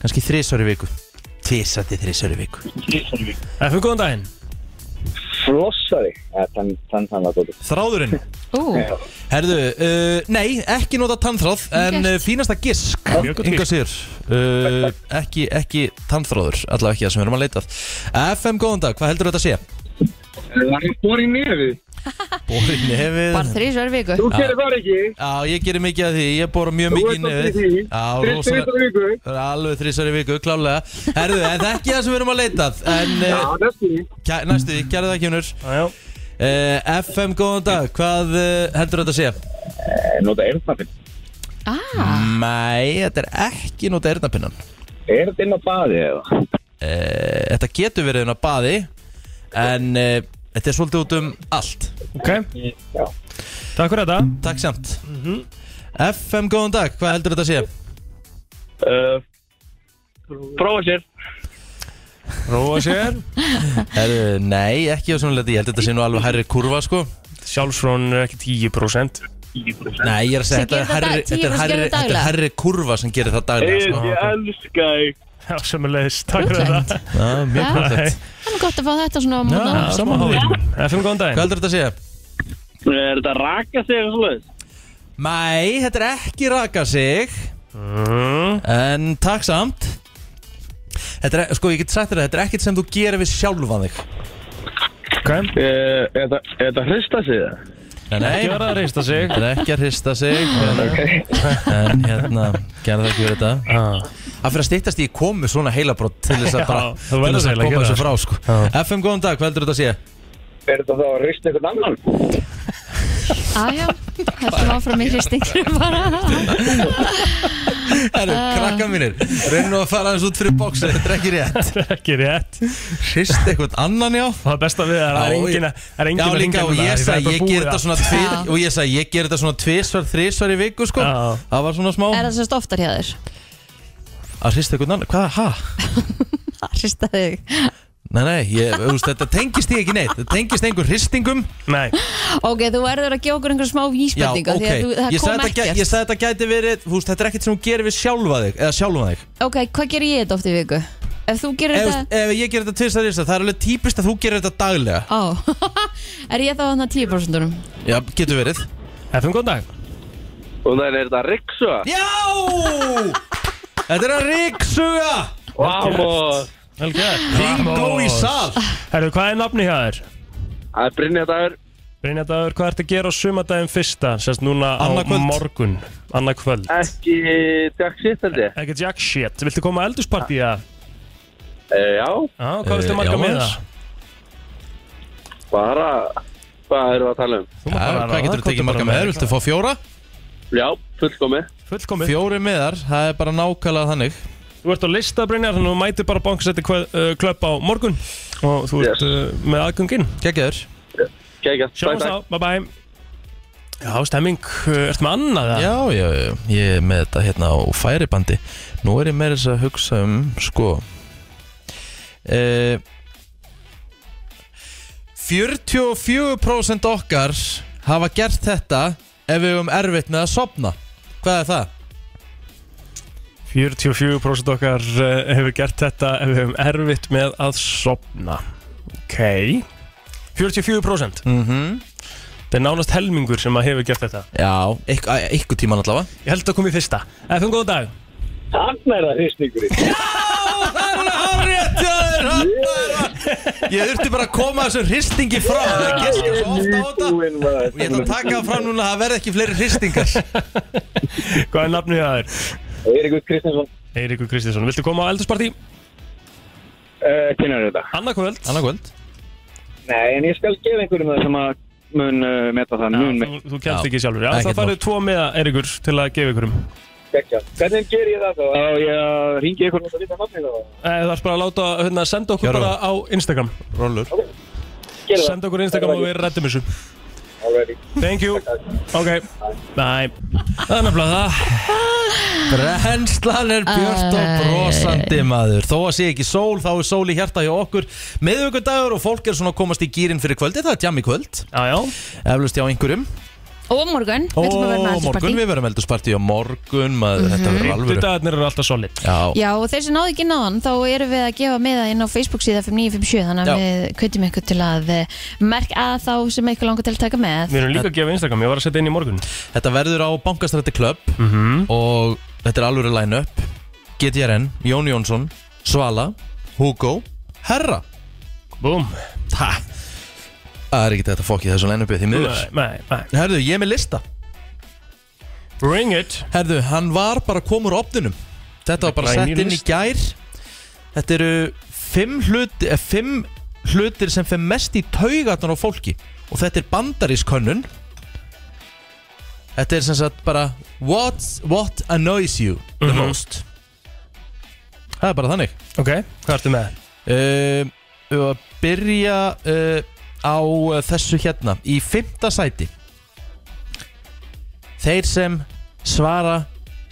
kannski þrísvar í viku Tvísar til þrísvar í viku
FM, góðan daginn
Flossari Þannig þann, þann að góðu
Þráðurinn
Ú,
Herðu, uh, nei, ekki nota tannþráð En uh,
gert.
fínasta gisk
Mjög gott
Inga sér uh, ekki, ekki tannþráður, allavega ekki það sem við erum að leitað FM, góðan dag, hvað heldur þetta að sé?
Það er borið nefið
Bóri nefið
bara þrísvar í viku
Þú gerir það ekki
Já, ég gerir mikið af því, ég bóra mjög
Þú
mikið í
ert alltaf í
nefið
því
Já,
Fyrst
rosalega
þetta viku
Það er alveg þrísar í viku, klálega Herðu, en það er ekki það sem við erum að leitað En
Já,
uh,
það er því
kæ, næstu, því, gerðu það ekki unnur
Já, já.
uh, FM, góðan dag, hvað uh, heldur þetta að sé?
Eh, Nota erðnappin
ah,
Nei, þetta er ekki nota erðnapinnan uh,
Er þetta inn á baði eða?
Eh, Þetta getur verið inn á baði En uh, þetta er svolítið út um allt
Ok Takk fyrir þetta
Takk samt
Mhm.
FM, góðan dag, hvað heldur þetta að sé?
uh, Prófa sér
Róa
[LAUGHS]
sér
Herðu, nei, ekki á svona leiti Ég held þetta sé nú alveg hærri kurva, sko
Sjálfsfrón er ekki 10%
Nei, ég er að segja,
Sem
þetta er
gerir það
herri,
dag- tíu
þetta er
sem
herri,
gerir það
þetta er
daglega.
herri kurva sem gerir það daglega
Egil,
sko.
ég elska þig
Já, sömulegis Takk fyrir
Útlegt.
þetta
Já, mjög
Já.
gróðlegt
það er gott að fá þetta svona á mótna
Já, sama
Háði.
háði
FM, góðan
Hvað
daginn
heldur þetta að segja?
Er þetta að raka sig og svoleiðis?
Nei, þetta er ekki raka sig
Mm,
En takk samt Þetta er, sko, ég get sagt þér að þetta er ekkert sem þú gerir við sjálfan þig
Ok
Eh,
Er þetta- er þetta að hrista sig það?
Nei, nei,
Ekki verið að reynsta sig
þetta er ekki að hrista sig en, en hérna, gerða það ekki verið þetta
ah.
Það fyrir að stýttast í komu svona heilabrótt til þess að,
Já,
bara,
þú
til
verður
þess að
eiginlega að
koma
gera
þessu frá sko.
Já.
FM, góðan dag, hvað heldur þetta að segja?
Er þetta þá að hrista einhvern annan?
Aðja, hættum áfram í hristinginu bara
Það
Ah.
eru krakka mínir Reynum nú að fara aðeins út fyrir bóksi Þetta er ekki
[LAUGHS]
rétt
Ekki rétt
Hrist eitthvað annan já
Og það besta við er að það er
Já,
engin
ég-
að- það er engin
Já
að
líka
hringja
og
núna,
ég
því það er
sagði
bara
ég
búið
ger þetta
að-
svona tvið
Já.
Og ég sagði ég ger þetta svona tvisvar, þrisvar í viku sko
Já.
Það var svona smá
Er það sérst oftar hjá þér?
Að hrista eitthvað annan, hvað, ha?
Það hrista þig
Nei, nei, ég, úst, þetta tengist ég ekki neitt Þetta tengist einhver hristingum
Nei,
Ok, þú verður að gefa okkur einhver smá
Já,
vísbendinga
ok
því að þú, það
Ég
kom
sagði þetta, gæ-
ekkert
ég sagði þetta gæti verið úst, Þetta er ekkert sem þú gerir við sjálfa þig Eða sjálfa þig
Ok, hvað gerir ég þetta oft í viku? Ef þú gerir
Ef,
þetta
ef ég gerir þetta tvisvar, þrisvar Það er alveg típist að þú gerir þetta daglega
Ó, [LAUGHS] er ég þá hann að 10% -unum?
Já, getur verið
FM, góðan dag
Og það er þetta að riksa
Já Þetta er að ríksuga
Vamos!
Vel gert
Bingo í sal
Herru, hvað er nafni hjá þér?
Það er brinnið dagur.
Brynjadagur, hvað ertu að gera á sumadaginn fyrsta? Sérst núna á
Annað kvöld.
morgun Annað kvöld
Ekki takk sitt held ég.
Ekki jack shit Viltu koma að eldurspartíða?
E, já,
Já, hvað
Eh,
viltu marga
já,
með
maður.
það?
bara, hvað erum við að tala um?
Hvað getur þú tekið marga með þér? Viltu fá fjóra?
Já, fullkomi.
Fullkomið
Fjóri meðar, það er bara nákvæmlega þannig
Þú ert á lista Brynjar Þannig að þú mætir bara bankasætti uh, klöpp á morgun Og þú ert uh, með aðgöngin
Gekkjaður
Kækja, takk,
Sjáumst
takk.
á, bye bye Já, stemming, uh, ertu með annað? eða?
Já, já, já, ég er með þetta hérna á færibandi Nú er ég með þess að hugsa um, sko e, 44% okkar hafa gert þetta ef við höfum erfitt með að sopna Hvað er það?
44% okkar uh, hefur gert þetta ef við höfum erfitt með að sopna Ok 44%
Mm -hmm.
Þetta er nánast helmingur sem að hefur gert þetta
Já, ykk- að- ykkur tíman allavega
Ég held að koma í fyrsta FM, góðan dag
Hann er það hristningurinn.
Hárrétt, já, það er hann, það er hann. Ég þurfti bara að koma þessum hristingi frá Það gerst ég svo ofta á þetta
Búinn maður.
Og ég ætla að taka það fram núna að það verði ekki fleiri hristingar
Hvað er nafnið það er?
Eiríkur Kristinsson.
Eiríkur Kristinsson Viltu koma á eldursparti?
Uh, Kynnar þetta?
Annarkvöld
Annarkvöld
[LAUGHS] Nei, en ég skal gefa einhverjum það sem að mun uh, meta það, mun
Þú,
með.
þú kemst
Já.
ekki sjálfur Já,
Ekkert
það farið tvo með Eiríkur til að gefa um. ykkurum
Kækja. Hvernig ger ég það þá? Já, ég ringi ykkur og líta nafnið það.
Eh, Það er bara að láta, hérna, senda okkur
Gjörðu
bara á Instagram
Rollur
Gerðu það.
Senda okkur á Instagram og við rættum þessu
Already.
Thank you Ok Næ Það er nefnilega það
Brennslan er björt og brosandi maður Þó að sé ekki sól, þá er sól í hjarta hjá okkur Meðvöggundagur og fólk er svona að komast í gýrin fyrir kvöldi Það er jam í kvöld,
Já, já
eflust hjá einhverjum
Og morgun, við ætlum að
Og
vera með
morgun,
aldursparti
við verðum eldursparti á morgun maður, Þetta verður alvöru
Fimmtudagarnir eru alltaf solid
Já,
Já, og þeir sem náðu ekki náðan, þá erum við að gefa með það inn á Facebook síða 5957 þannig
Já.
að við kvittum ykkur til að eh, merk að þá sem ykkur langar til að taka með
Við erum líka að gefa Instagram, ég var að setja inn í morgun Mhm.
þetta verður á Bankastrætti Club Og þetta er alvöru line-up GTRN, Jón Jónsson, Svala, Hugo, Herra
Búm
Ha, það er ekki þetta fokk í þessu line-upi því miður
Nei, nei, nei
Herðu, ég er með lista
Bring it
Herðu, hann var bara komur opnunum Þetta var bara sett inn í gær Þetta eru fimm, hlut, eh, fimm hlutir sem fyrir mest í taugatun á fólki Og þetta er bandarískönnun Þetta er sem sagt bara What, what annoys you the
Mhm.
most Það er bara þannig
Ok, hvað ertu með?
Um, Við uh, að byrja uh, á uh, þessu hérna Í fymta sæti Þeir sem svara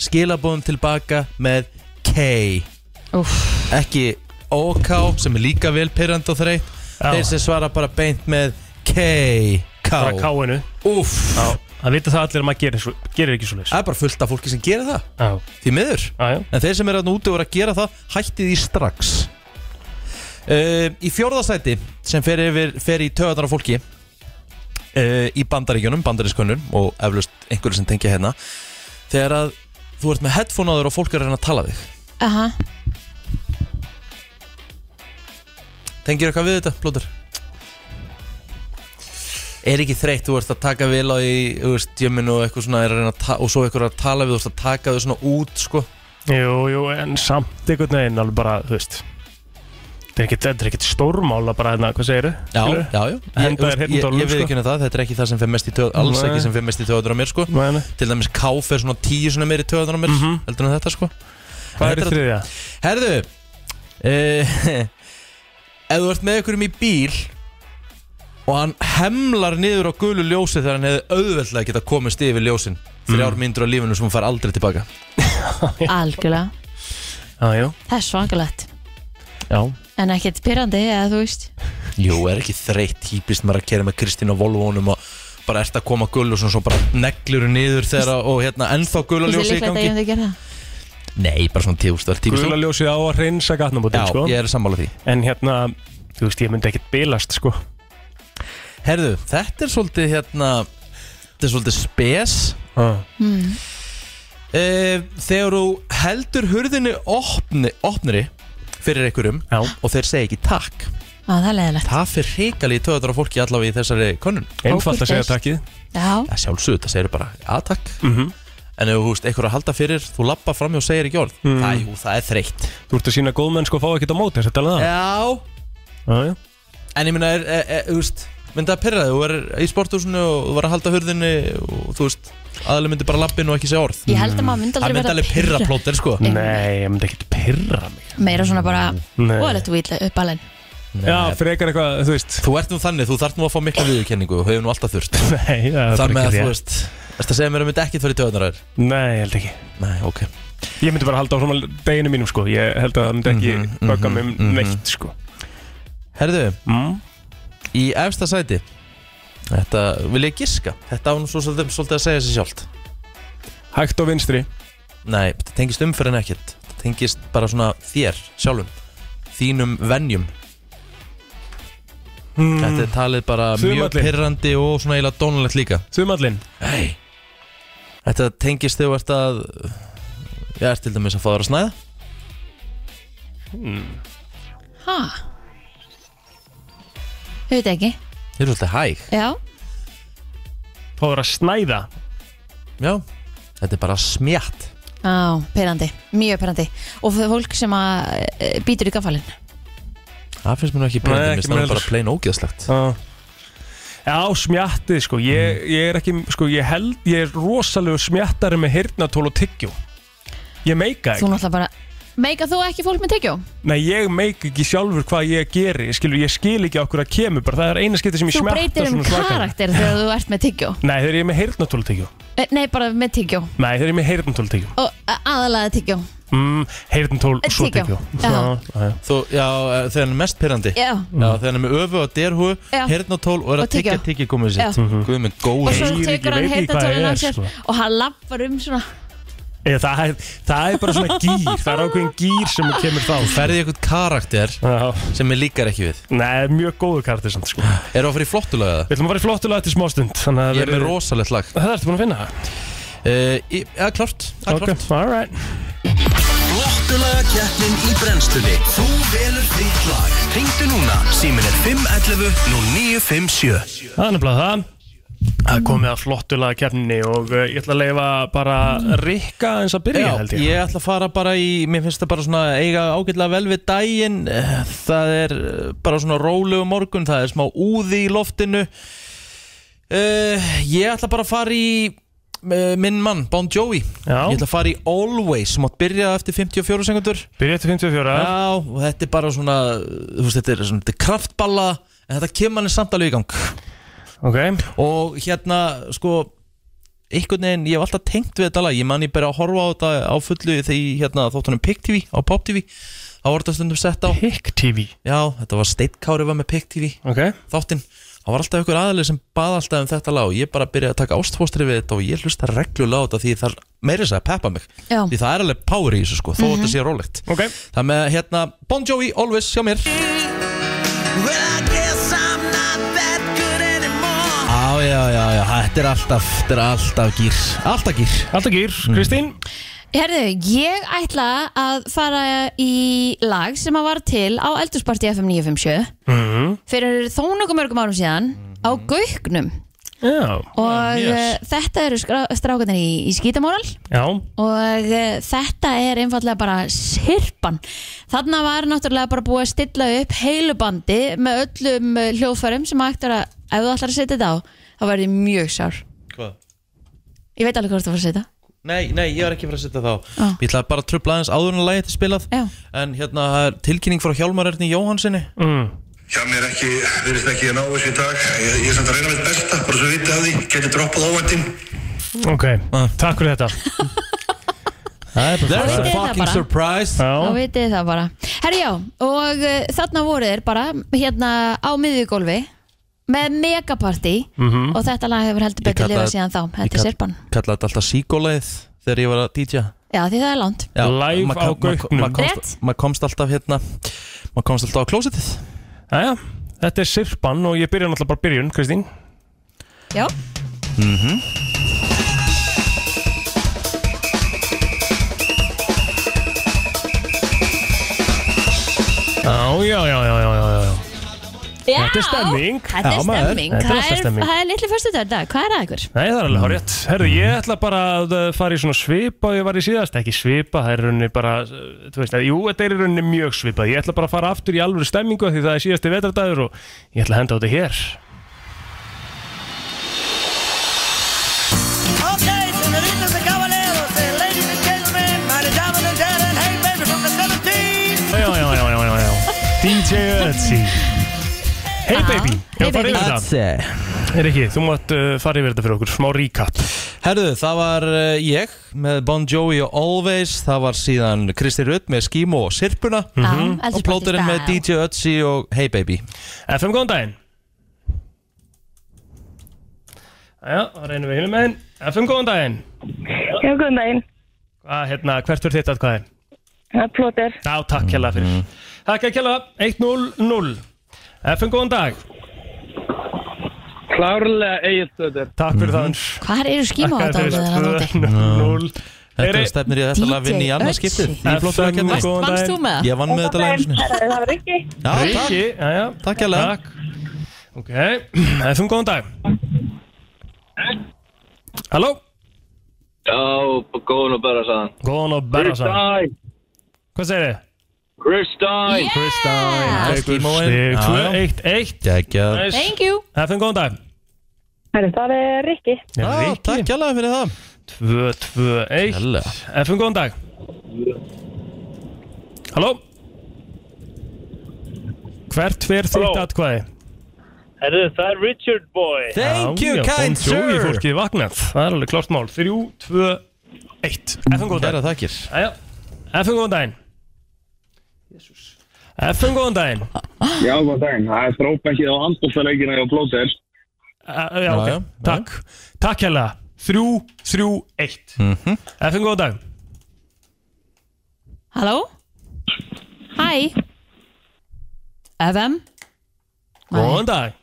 skilabóðum tilbaka með K
Úff.
Ekki OK sem er líka vel pyrrand og þreytt Þeir sem svara bara beint með K
Bara
K
káinu
Úff
Já
Mhm,
Það vita það allir að maður gerir, svo, gerir ekki svo leys
Það er bara fullt af fólki sem gerir það
Já,
Því miður
já, já
En þeir sem eru að úti og eru að gera það Hætti því strax uh, Í fjórðasæti sem fer, yfir, fer í töðanar á fólki uh, Í bandaríkjunum, bandarískönnun Og eflaust einhverju sem tengja hérna Þegar að þú ert með headphone á þér Og fólk er að reyna að tala við þig
Aha,
Tengir eitthvað við þetta, Blóður? Er ekki þreytt, þú ert að taka vil á í Þú veist, jömmin og eitthvað svona er að reyna að ta- Og svo eitthvað er að tala við, þú ert að taka þau svona út Sko,
Jú, jú, en samt einhvern veginn alveg bara, þú veist Þetta er ekkert- þetta er ekkert stórmála bara hérna, hvað segirðu?
Já,
Skilurðu?
já, já Ég,
Henda þér
ég,
hérna
ég,
dálum,
ég við
sko.
ekki það, þetta er ekki það sem fer mest í töð Alls
Nei.
ekki sem fer mest í töðunar á mér sko
Nei, nei.
Til dæmis káf er svona tíu svona meiri töðunar á mér
Mhm.
Heldur en þetta sko
Hvað er í
Þetta
þriðja?
Herðu uh, [LAUGHS] Ef þú ert með ykkurum í bíl Og hann hemlar niður á gulu ljósi Þegar hann hefði auðveldlega geta komist yfir ljósin
Mm.
Þrjár myndur á lífinu sem hún fær aldrei tilbaka
algjörlega
Ah, Já, jú
Það er svakalegt
Já
En ekkert pyrrandi eða þú veist
Jú, er ekki þreytt típist maður að kera með Kristín á Volvónum og bara ert að koma gul og svona svo bara neglur niður þegar að- og hérna ennþá gula
Þú veist
ljósi í
líklegt að
gangi
ég myndi að gera það
Nei, bara svona tíu stöld tíu
Gula
stöld
ljósið á að reynsa gatnabótin,
Já,
sko
ég er sammála því
En hérna, þú veist, ég myndi ekkert bilast, sko
Herðu, þetta er svolítið hérna Þetta er svolítið spes
ah.
Eh, Þegar þú heldur hurðinni opni, opnri fyrir einhverjum
Já.
og þeir segja ekki takk
Á, það er leðilegt
það fyrir hrikalið töðar á fólki allavega í þessari konun
Einfalt að segja
Ábyrgðist.
takkið
Já,
að sjálfsögðu, það segir bara að takk
Mhm.
en ef þú veist, einhver er að halda fyrir, þú lappa fram og segir ekki orð mm. það, jú, það er þreytt
Mhm. Þú ert að sína góðmennsku og fá ekkert á móti Þetta er alveg
já,
það Já, já.
en ég minna, er, er, er, þú veist myndi að pyrra þig, þú er í sporthúsinu og þú var að halda hurðinni og þú veist aðalega myndi bara lappin og ekki segja orð
ég held að maður myndi
það
aldrei
myndi
vera
alveg pyrra plóter, sko
Nei, ég myndi ekkert pyrra mig
Meira svona bara,
Nei.
óalegt þú ítla upp alveg
Já, frekar eitthvað, þú veist
þú ert nú þannig, þú þarf nú að fá mikla viðurkenningu og hefur nú alltaf þurft
Nei, það er bara
þar með að
ekki
þú
rétt.
veist, erst að segja mér að myndi ekki fyrir töðunar þær
Nei, ég held ekki
nei, ok,
Ég myndi bara halda áfram að deginu mínum, sko Ég held að það myndi ekki mm
Mhm,
bögga
mhm,
mig
mhm.
neitt, sko
herðu
mm.
Í efsta sæti Þetta vil ég giska Þetta án svo svolítið, svolítið að segja sér sjálft
Hægt og vinstri
Nei, þetta tengist umferðin ekkert Þetta tengist bara svona þér sjálfum Þínum venjum
Mm.
Þetta er talið bara mjög
Þumalli.
pyrrandi og svona eiginlega dónulegt líka
Þumallinn
Nei Þetta tengist þegar þú ert að Ég ert til dæmis að fá þér að snæða
Mm.
Ha? Þú veit ekki
Þið eru svolítið hæg
Já,
Fáður að snæða
Já Þetta er bara smjatt
á, perandi, mjög perandi Og fyrir fólk sem að e, býtur í gafalinn
Það finnst mér nú ekki
Nei,
pyrrandi
ekki
Mér finnst
mér
það bara
heldur.
plain ógeðslegt
Já Já, smjattið sko, ég,
Mhm.
ég er ekki, sko, ég held, ég er rosalegu smjattari með hirtnatól og tyggjó Ég meika
Þú
ekki,
náttúrulega bara, meika þú ekki fólk með tyggjó?
nei ég meika ekki sjálfur hvað ég geri, skilur, ég skil ekki okkur að kemur bara, það er eina skipti sem ég
Þú
smjatta
breytir um
svona svakalega.
karakter þegar þú ert með tyggjó
Nei, þegar ég er með hirtnatól og tyggjó
Eh, Nei, bara með tyggjó
Nei, þegar ég er með hirtnatól og tyggjó
Og eh, a- aðalega tyggjó
mm, Hirtnatól og svo
Tyggjó.
tyggjó
Já.
já,
Þú, já, eh, þegar hann er mest pyrrandi
Já,
Já, þegar hann er með öfu og derhú,
Já.
hernatól og er
Og
að tyggja
tyggjó.
tyggja komið
Já.
sitt. Guð minn góð.
og svo
Heyri ekki,
tekur hann
veit ekki hvað
heyrnatólinn
það
á
er,
sér
sko.
og hann lappar um svona
Eða, það, er, það er bara svona gýr, það er ákveðin gýr sem kemur þá sko.
Ferði eitthvað karakter
Já.
sem ég líkar ekki við.
Nei, mjög góðu kartir samt sko Við
Er það að fyrir flottulega það?
ætlum að fara í flottulega eftir smástund þannig að
Ég er með
verið-
rosalegt lag.
Það ertu búin að finna
Uh, í- Já, klart. Já, klart.
alright
Flottulega keppnin í brennstunni Þú velur þitt lag Ringdu núna, símin er 511 0957
Það er nefnilega það Það er komið að flottulega keppninni og uh, ég ætla að leifa bara Rikka eins að byrja
Já,
held ég
ég ætla að fara bara í, mér finnst það bara svona eiga ágætlega vel við daginn Eh, Það er eh, bara svona rólegu morgun, það er smá úði í loftinu uh, Ég ætla bara að fara í uh, minn mann, Bon Jovi
Já.
Ég ætla að fara í Always, sem átt byrja eftir 54 sekundur
Byrja eftir 54 ja.
Já, og þetta er bara svona, þú veist, þetta er svona, þetta er kraftballa En þetta kemur hann samt alveg í gang
Ok
Og hérna, sko einhvern veginn, ég hef alltaf tengt við þetta lag ég man ég bara að horfa á þetta á fullu þegar ég, hérna, þótt honum Pick TV á Pop TV þá var þetta stundum sett á
Pick TV
já, þetta var Steitkári var með Pick TV
Ok
þáttinn, þá var alltaf ykkur aðlið sem baða alltaf um þetta lag og ég bara byrjaði að taka ástfóstri við þetta og ég hlusta reglulega á þetta því það meiri þess að peppa mig
Já.
því það er alveg power í þessu sko, þó þetta sé rólegt
Ok
það með, hérna, Bon Jovi, Always, hjá mér
Well, I guess I'm not that good anymore
Já, já, já, já, þetta er alltaf, þetta er alltaf gýr, alltaf gýr Mm.
Alltaf gýr Kristín
Herðu, ég ætla að fara í lag sem að var til á Eldursparti FM 957
Mhm.
fyrir þó nokkuð mörgum árum síðan á Gauknum
Já
og eh,
yes.
yes. þetta eru strákarnir í, í skítamóral
Já
og eh, þetta er einfallega bara sirpan þarna var náttúrulega bara búið að stilla upp heilubandi með öllum eh, hljóðfærum sem hægt er að ef þú ætlar að setja þetta á þá verður ég mjög sár
Hvað?
ég veit alveg hvort þú var að setja
Nei, nei, ég var ekki fyrir að setja þá
Á.
Ég ætlaði bara að trubla aðeins áður en að lagið þetta er spilað
Já.
En hérna, það er tilkynning frá Hjálmar Erni Jóhansinni
mm.
Já, mér ekki, verðist ekki að ná þessu í dag. Ég, ég er samt að reyna mitt besta, bara svo vitið að því. Geti droppað óvæntin.
Ok Takk fyrir [LAUGHS] þetta Það er bara
That's a
vitið það
fucking
bara.
surprise
Þá
Já
vitið þið það bara Herri já, og uh, þarna voru þeir bara hérna á miðjugólfi með megaparty
Mhm.
og þetta lag hefur heldur betur
kalla-
lifað síðan þá þetta er
kall-
sirpan
Kallaði þetta alltaf síkólaðið þegar ég var að DJ
Já, því það er langt
Já,
Live
ma-
á
ma-
Gauknum.
ma- komst-
Rétt.
Maður komst alltaf hérna Maður komst alltaf á klósitið
Jæja Þetta er sirpan og ég byrja náttúrulega bara byrjun Kristín
Já,
Já, já, já, já, já, já, já.
Já,
Þetta er stemming.
Þetta er
Já, maður,
stemming,
þetta er
það
alltaf
er,
stemming.
það er litli fyrstu dag, hvað er það ykkur?
Nei, það er alveg hárétt. Herðu, ég ætla bara að uh, fara í svona svipa og ég var í síðast, ekki svipa, það er í rauninni bara, uh, þú veist, að, jú, þetta er í rauninni mjög svipað. Ég ætla bara að fara aftur í alvöru stemmingu af því það er síðasti vetardagur og ég ætla að henda á þetta hér.
Okay, senoritas and caballeros, and ladies and gentlemen, meine Damen und Herren, hey baby from the 17
Já, já, já, já, já, já. DJ Ötzi. Hey baby, ég var yfir þetta. Rikki, þú mátt uh, fara yfir þetta fyrir okkur, smá recap.
Herðu, það var eh, ég með Bon Jovi og Always Það var síðan Kristi Rutt með Skimo og Sirpuna
Mhm. Já,
Og plóturinn með
Eldri
DJ Ötzi og Hey Baby
FM, góðan daginn Já, þá reynum við hinum einn. FM, góðan daginn.
Já, góðan daginn.
Hvað, hérna, hvert fyrir þitt atkvæði?
Það er plóter.
Já, takk hella fyrir.
Mhm.
Takk að kjalla, 1-0-0. FM, góðan dag.
Klárlega eigið stöður.
Takk fyrir það.
Mhm.
Hvað eru skíma á
Takk
þetta
fyrir
orðið þarna úti?
2-0.
Þetta er stefnir í að þetta lag vinni í annað skiptið. Í flottu að kenna.
Vannst þú með það?
Ég vann með þetta lag einu sinni.
Það var ekki.
Já, takk.
Ríki, já, já.
Takk hella.
Takk. Ok, [CLEARS THROAT] FM, góðan dag. Halló?
Já, góðan og bara saðan.
Góðan og bara saman.
Kristæn!
Hvað segir þið?
Kristæn!
Kristæn!
Skímóin. Já, já.
2-1-1.
Gægjað.
Nice.
Thank you.
FM, góðan dag.
Herru, það er Rikki.
Já,
takk hella fyrir það.
2-2-1. FM, góðan dag. Halló? Hvert fyrir þitt atkvæði?
Herðu, það er Richard Boy.
Já, já, Bon Jovi fólkið vaknað Það er alveg klart mál 3, 2, 1 FM góðan
Kæra
daginn
þakkir
Jæja. FM góðan daginn FM góðan daginn
Já, góðan daginn. Það er drópengið á handbóltaleikina hjá Plóter.
Eh, Já, ok, takk Takk hella 3, 3, 1 FM góðan dag
Halló? Hæ? FM?
Góðan dag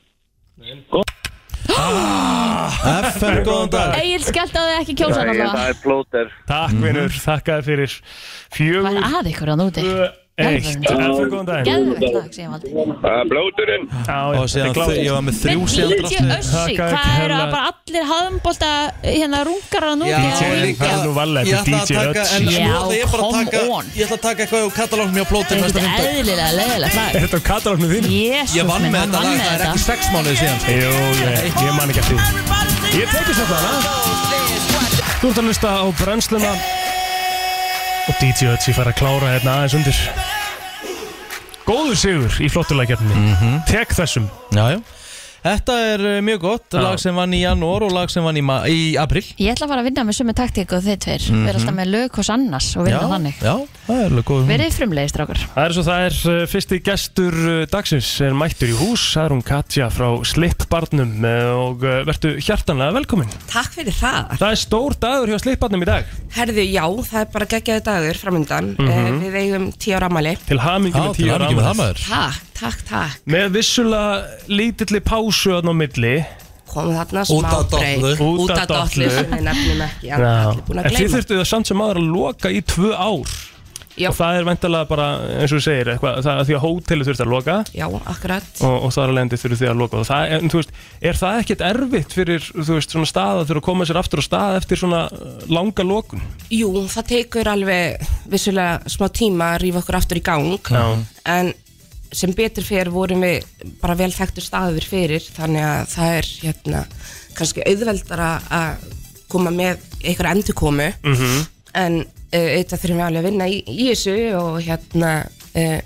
FM góðan dag Mhm.
Egil skelltaði ekki kjósan alltaf
er plóter.
Takk vinnur, þakkaði fyrir Fjögur
Hvað er að ykkur hann úti?
Eitt, FM góðan dag
Geðvegt lag sem ég valdi
Eh,
Það er blóturinn.
Oh,
Og síðan þau- ég var með þrjú síðan
DJ Össi, hvað eru að bara allir hafðumbólta hérna rungar hann úti
DJ, það er nú valið,
Ég ætla
þetta er
að
DJ
taka, en
Ötzi.
nú ætla ég bara að
come
taka Ég ætla að taka eitthvað úr katalógnum hjá plóturinn
Þetta
næsta
er
fymta
eðlilega leðilegt lag
Er þetta á katalógnum þín?
Jesús
Ég vann
minn,
með
hann
þetta
vann
lag,
með
það er
þetta.
ekki sex mánuði síðan sko.
Jú, ég, ég man ekki að því Ég tekið sér það, Þú ert að hlusta á brennsluna og DJ Ötzi fær að klára hérna aðeins undir Góður sigur í flottulækjarni Tek þessum
Mhm. Já, já Þetta er eh, mjög gott, lag sem vann í janúar og lag sem vann í, ma- í april
Ég ætla að fara að vinna með sömu taktík og þið tveir
Mhm.
Verða alltaf með lög hos annars og vinna þannig
Já, Mhm. það er alveg góð hugmynd.
Verið frumlegist rákur
Það er svo það er uh, fyrsti gestur uh, dagsins er mættur í hús það er hún Katja frá Slippbarnum uh, og uh, vertu hjartanlega velkomin
Takk fyrir það.
Það er stór dagur hjá Slippbarnum í dag
Herðu, já, það er bara geggjaði dagur framöndan. Mm
Mhm.
Við eigum tíu ára amali.
Til hamingju með Já, til 10 ára hamingju með afmælið. það,
Takk, takk, takk.
með vissulega lítilli pásu þarna á milli
Kom þarna smá break.
Út
Út
af
að dollu.
dollu
sem við nefnum ekki. Já.
Já.
búin að
En þið
gleyma.
þurftu það samt sem aðra að loka í tvö ár
Já.
Og það er vendalega bara, eins og þú segir, eitthvað, það, því að hóteli þurftu að loka
Já, akkurat.
Og, og þar alveg þurftu þið að loka Og það, en, þú veist, er það ekkert erfitt fyrir, þú veist, svona staða Þurfa að koma sér aftur á stað eftir svona uh, langa lokun
Jú, það tekur alveg vissulega smá tíma að rýfa okkur aftur í gang.
Já.
En sem betur fyrir vorum við bara vel þekktur staður fyrir þannig að það er hérna kannski auðveldara að koma með einhverja endurkomu
Mhm.
en uh, auðvitað þurfum við alveg að vinna í, í þessu og hérna uh,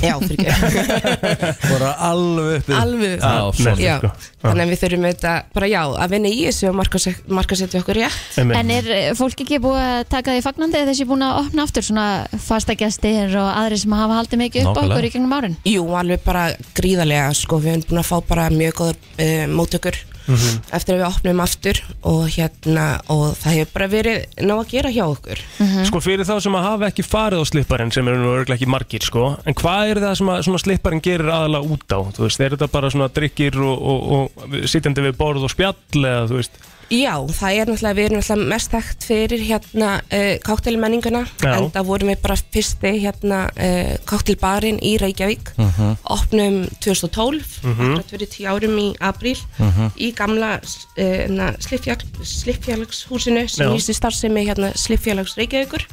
já, fyrir
Bara alveg uppið
alveg
sko.
Já,
já,
já.
þannig að við þurfum auðvitað bara já, að vinna í þessu og markas- markasetja okkur rétt
En er eh, fólk ekki búið að taka því fagnandi eða þessi búin að opna aftur svona fasta gestir og aðri sem hafa haldið mikið upp á
Nákvæmlega.
okkur í gegnum árin?
Jú, alveg bara gríðarlega sko, við höfum búin að fá bara mjög góður uh, móttökur
Mhm.
eftir að við opnum aftur og hérna og það hefur bara verið ná að gera hjá okkur
Mhm.
Sko fyrir þá sem að hafa ekki farið á slipparinn sem eru nú örglega ekki margir sko en hvað er það sem að svona slipparinn gerir aðalega út á? Þú veist, er þetta bara svona drikkir og, og, og sitjandi við borð og spjall eða þú veist
Já, það er náttúrulega, við erum náttúrulega mest þekkt fyrir hérna uh, káttelmenninguna
Já.
en það vorum við bara fyrsti hérna uh, káttelbarinn í Reykjavík
Mhm.
opnum 2012 mm
Mhm.
fyrir tíu árum í apríl
Mhm.
í gamla uh, slipfjálagshúsinu sem
Já.
nýstu starfsemi hérna slipfjálags Reykjavíkur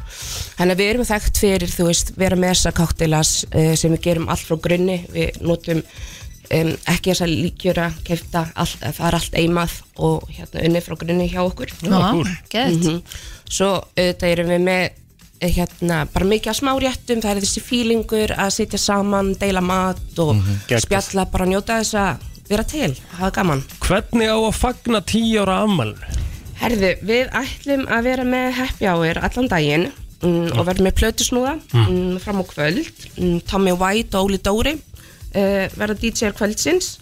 þannig að við erum þekkt fyrir, þú veist, vera með þessa káttelas uh, sem við gerum allt frá grunni, við notum um, ekki þess að líkjöra kefta, all, það er allt eimað og hérna unni frá grunni hjá okkur
Já, Já, kúl. gett.
Mhm. Svo auðvitað erum við með eh, hérna, bara mikið að smá réttum það er þessi fílingur að sitja saman deila mat og
Mhm. Geggjað.
spjalla bara að njóta þess að vera til hafa gaman
Hvernig á að fagna 10 ára ammæl?
Herðu, við ætlum að vera með happy hour allan daginn mm, og verðum með plötusnúða
Mm.
mm, fram á kvöld mm, Tommy White og Óli Dóri uh, verða DJ-ar kvöldsins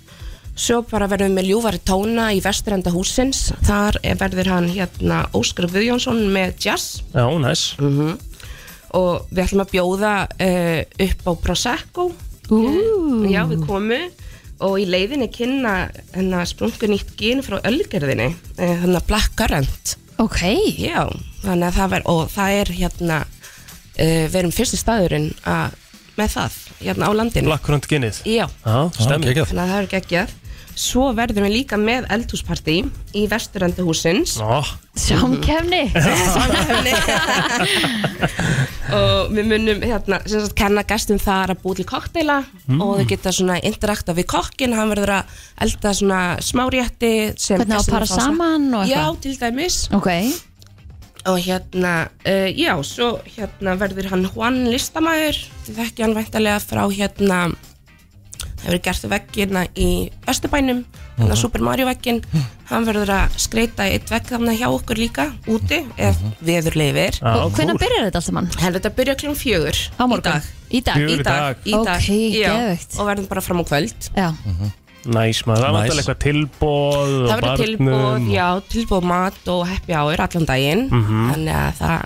svo bara verðum við með ljúfari tóna í vesturenda húsins þar er- verður hann hérna Óskar Guðjónsson með jazz
Já, næs
mm og við ætlum að bjóða uh, upp á Prosecco Ooh. já, við komum og í leiðinni kynna hennar sprungun nýtt gin frá ölgerðinni eh, hennar Black Currant ok já, þannig að það verður og það er hérna uh, við erum fyrsti staðurinn að með það, hérna á landinu
Blackcurrant ginnið?
Já.
Já, stemmi
þannig að það er geggjað svo verðum við líka með eldhúspartí í vesturandi húsins
oh.
[LAUGHS] Samkefni
[LAUGHS] og við munum hérna, sem sagt, kenna gestum þar að búið til kokteila
Mm.
og þau geta svona interakta við kokkin, hann verður að elda svona smárétti sem
Hvernig á að
gestirnir
para
fá svona-
saman og
Já,
eitthvað?
til dæmis
Ok
og hérna, uh, já, svo hérna verður hann Juan listamæður þið þekki hann væntalega frá hérna það verður gert veggina í Östubænum, þannig
Mhm.
að Super Mario veggin
Hm.
hann verður að skreita í eitt vegg þarna hjá okkur líka, úti
Hm.
ef veður leifir
Já, Og hvenær kúl.
byrjar þetta alltaf mann? Þetta byrjar kljóðum fjögur Á morgun? Í dag
Fjögur í
Í dag,
dag.
í dag
Ok,
já.
geðveikt.
Og verðum bara fram á kvöld Já
Mhm. Næs maður,
Næs.
það var alltaf eitthvað tilbóð og
Það verður
barnum
tilbúð,
og-
já, tilbúð mat og happy hour allan daginn
Mhm.
Þannig að það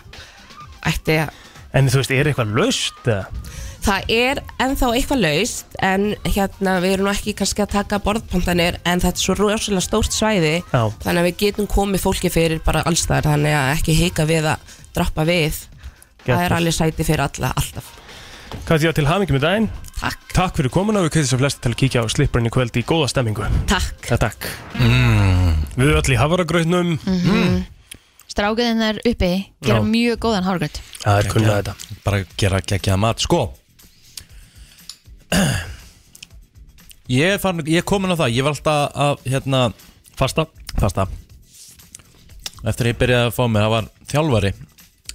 ætti að
En þú veist, er eitthvað löst? eða?
Það er ennþá eitthvað laust en hérna við erum nú ekki kannski að taka borðpantanir en þetta er svo rosalega stórt svæði
Já.
þannig að við getum komið fólki fyrir bara allstaðar þannig að ekki hika við að droppa við Það
Geggjað.
er alveg sæti fyrir alla, alltaf
Katja, til hamingjum í daginn
Takk
Takk fyrir komuna og við kveðum sem flesti til að kíkja á slipparinn í kvöld í góða stemmingu
Takk
ja, Takk mm. Við öll í hafaragrautnum
Mhm. Strákaðinn er uppi Gera
Já.
mjög góðan hárgrönd
Það er kunnað þetta
Bara gera geggjaða mat Sko Ég er, farin, ég er komin á það Ég var alltaf að hérna,
Fasta
Fasta Eftir að ég byrjaði að fá mér Það var þjálfari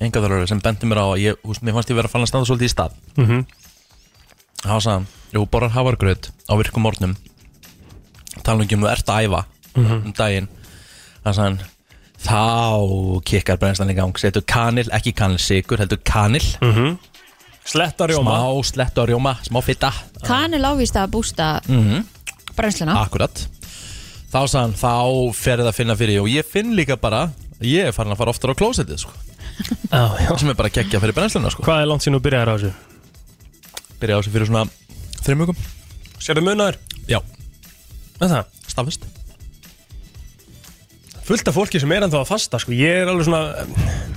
Engaþjálfari sem bendi mér á að ég, húst, Mér fannst ég vera að fara að standa svolítið í stað
Mhm.
Það sagði hann Jú, borðar hafargröð á virkum morgnum Tala ekki um þú ert að æfa
Mhm.
Um daginn Það sagði hann Þá kikkar brennslan í gang Setur kanil, ekki kanil sigur Heldur kanil
-hmm. Sletta rjóma.
Smá sletta rjóma, smá fitta
Hann er lágvist að bústa
mm
brennsluna
Akkurat Þá sagði hann, þá fer það að finna fyrir Og ég finn líka bara Ég er farin að fara oftar á klósetið sko.
ah,
Sem er bara að gegja fyrir brennsluna sko.
Hvað er langt sín og byrjaði á þessu?
Byrjaði á þessu fyrir svona Þreim vikum
Sérðu munar?
Já
Með það?
Stafist
Fullt af fólki sem er ennþá að fasta sko. Ég er alveg svona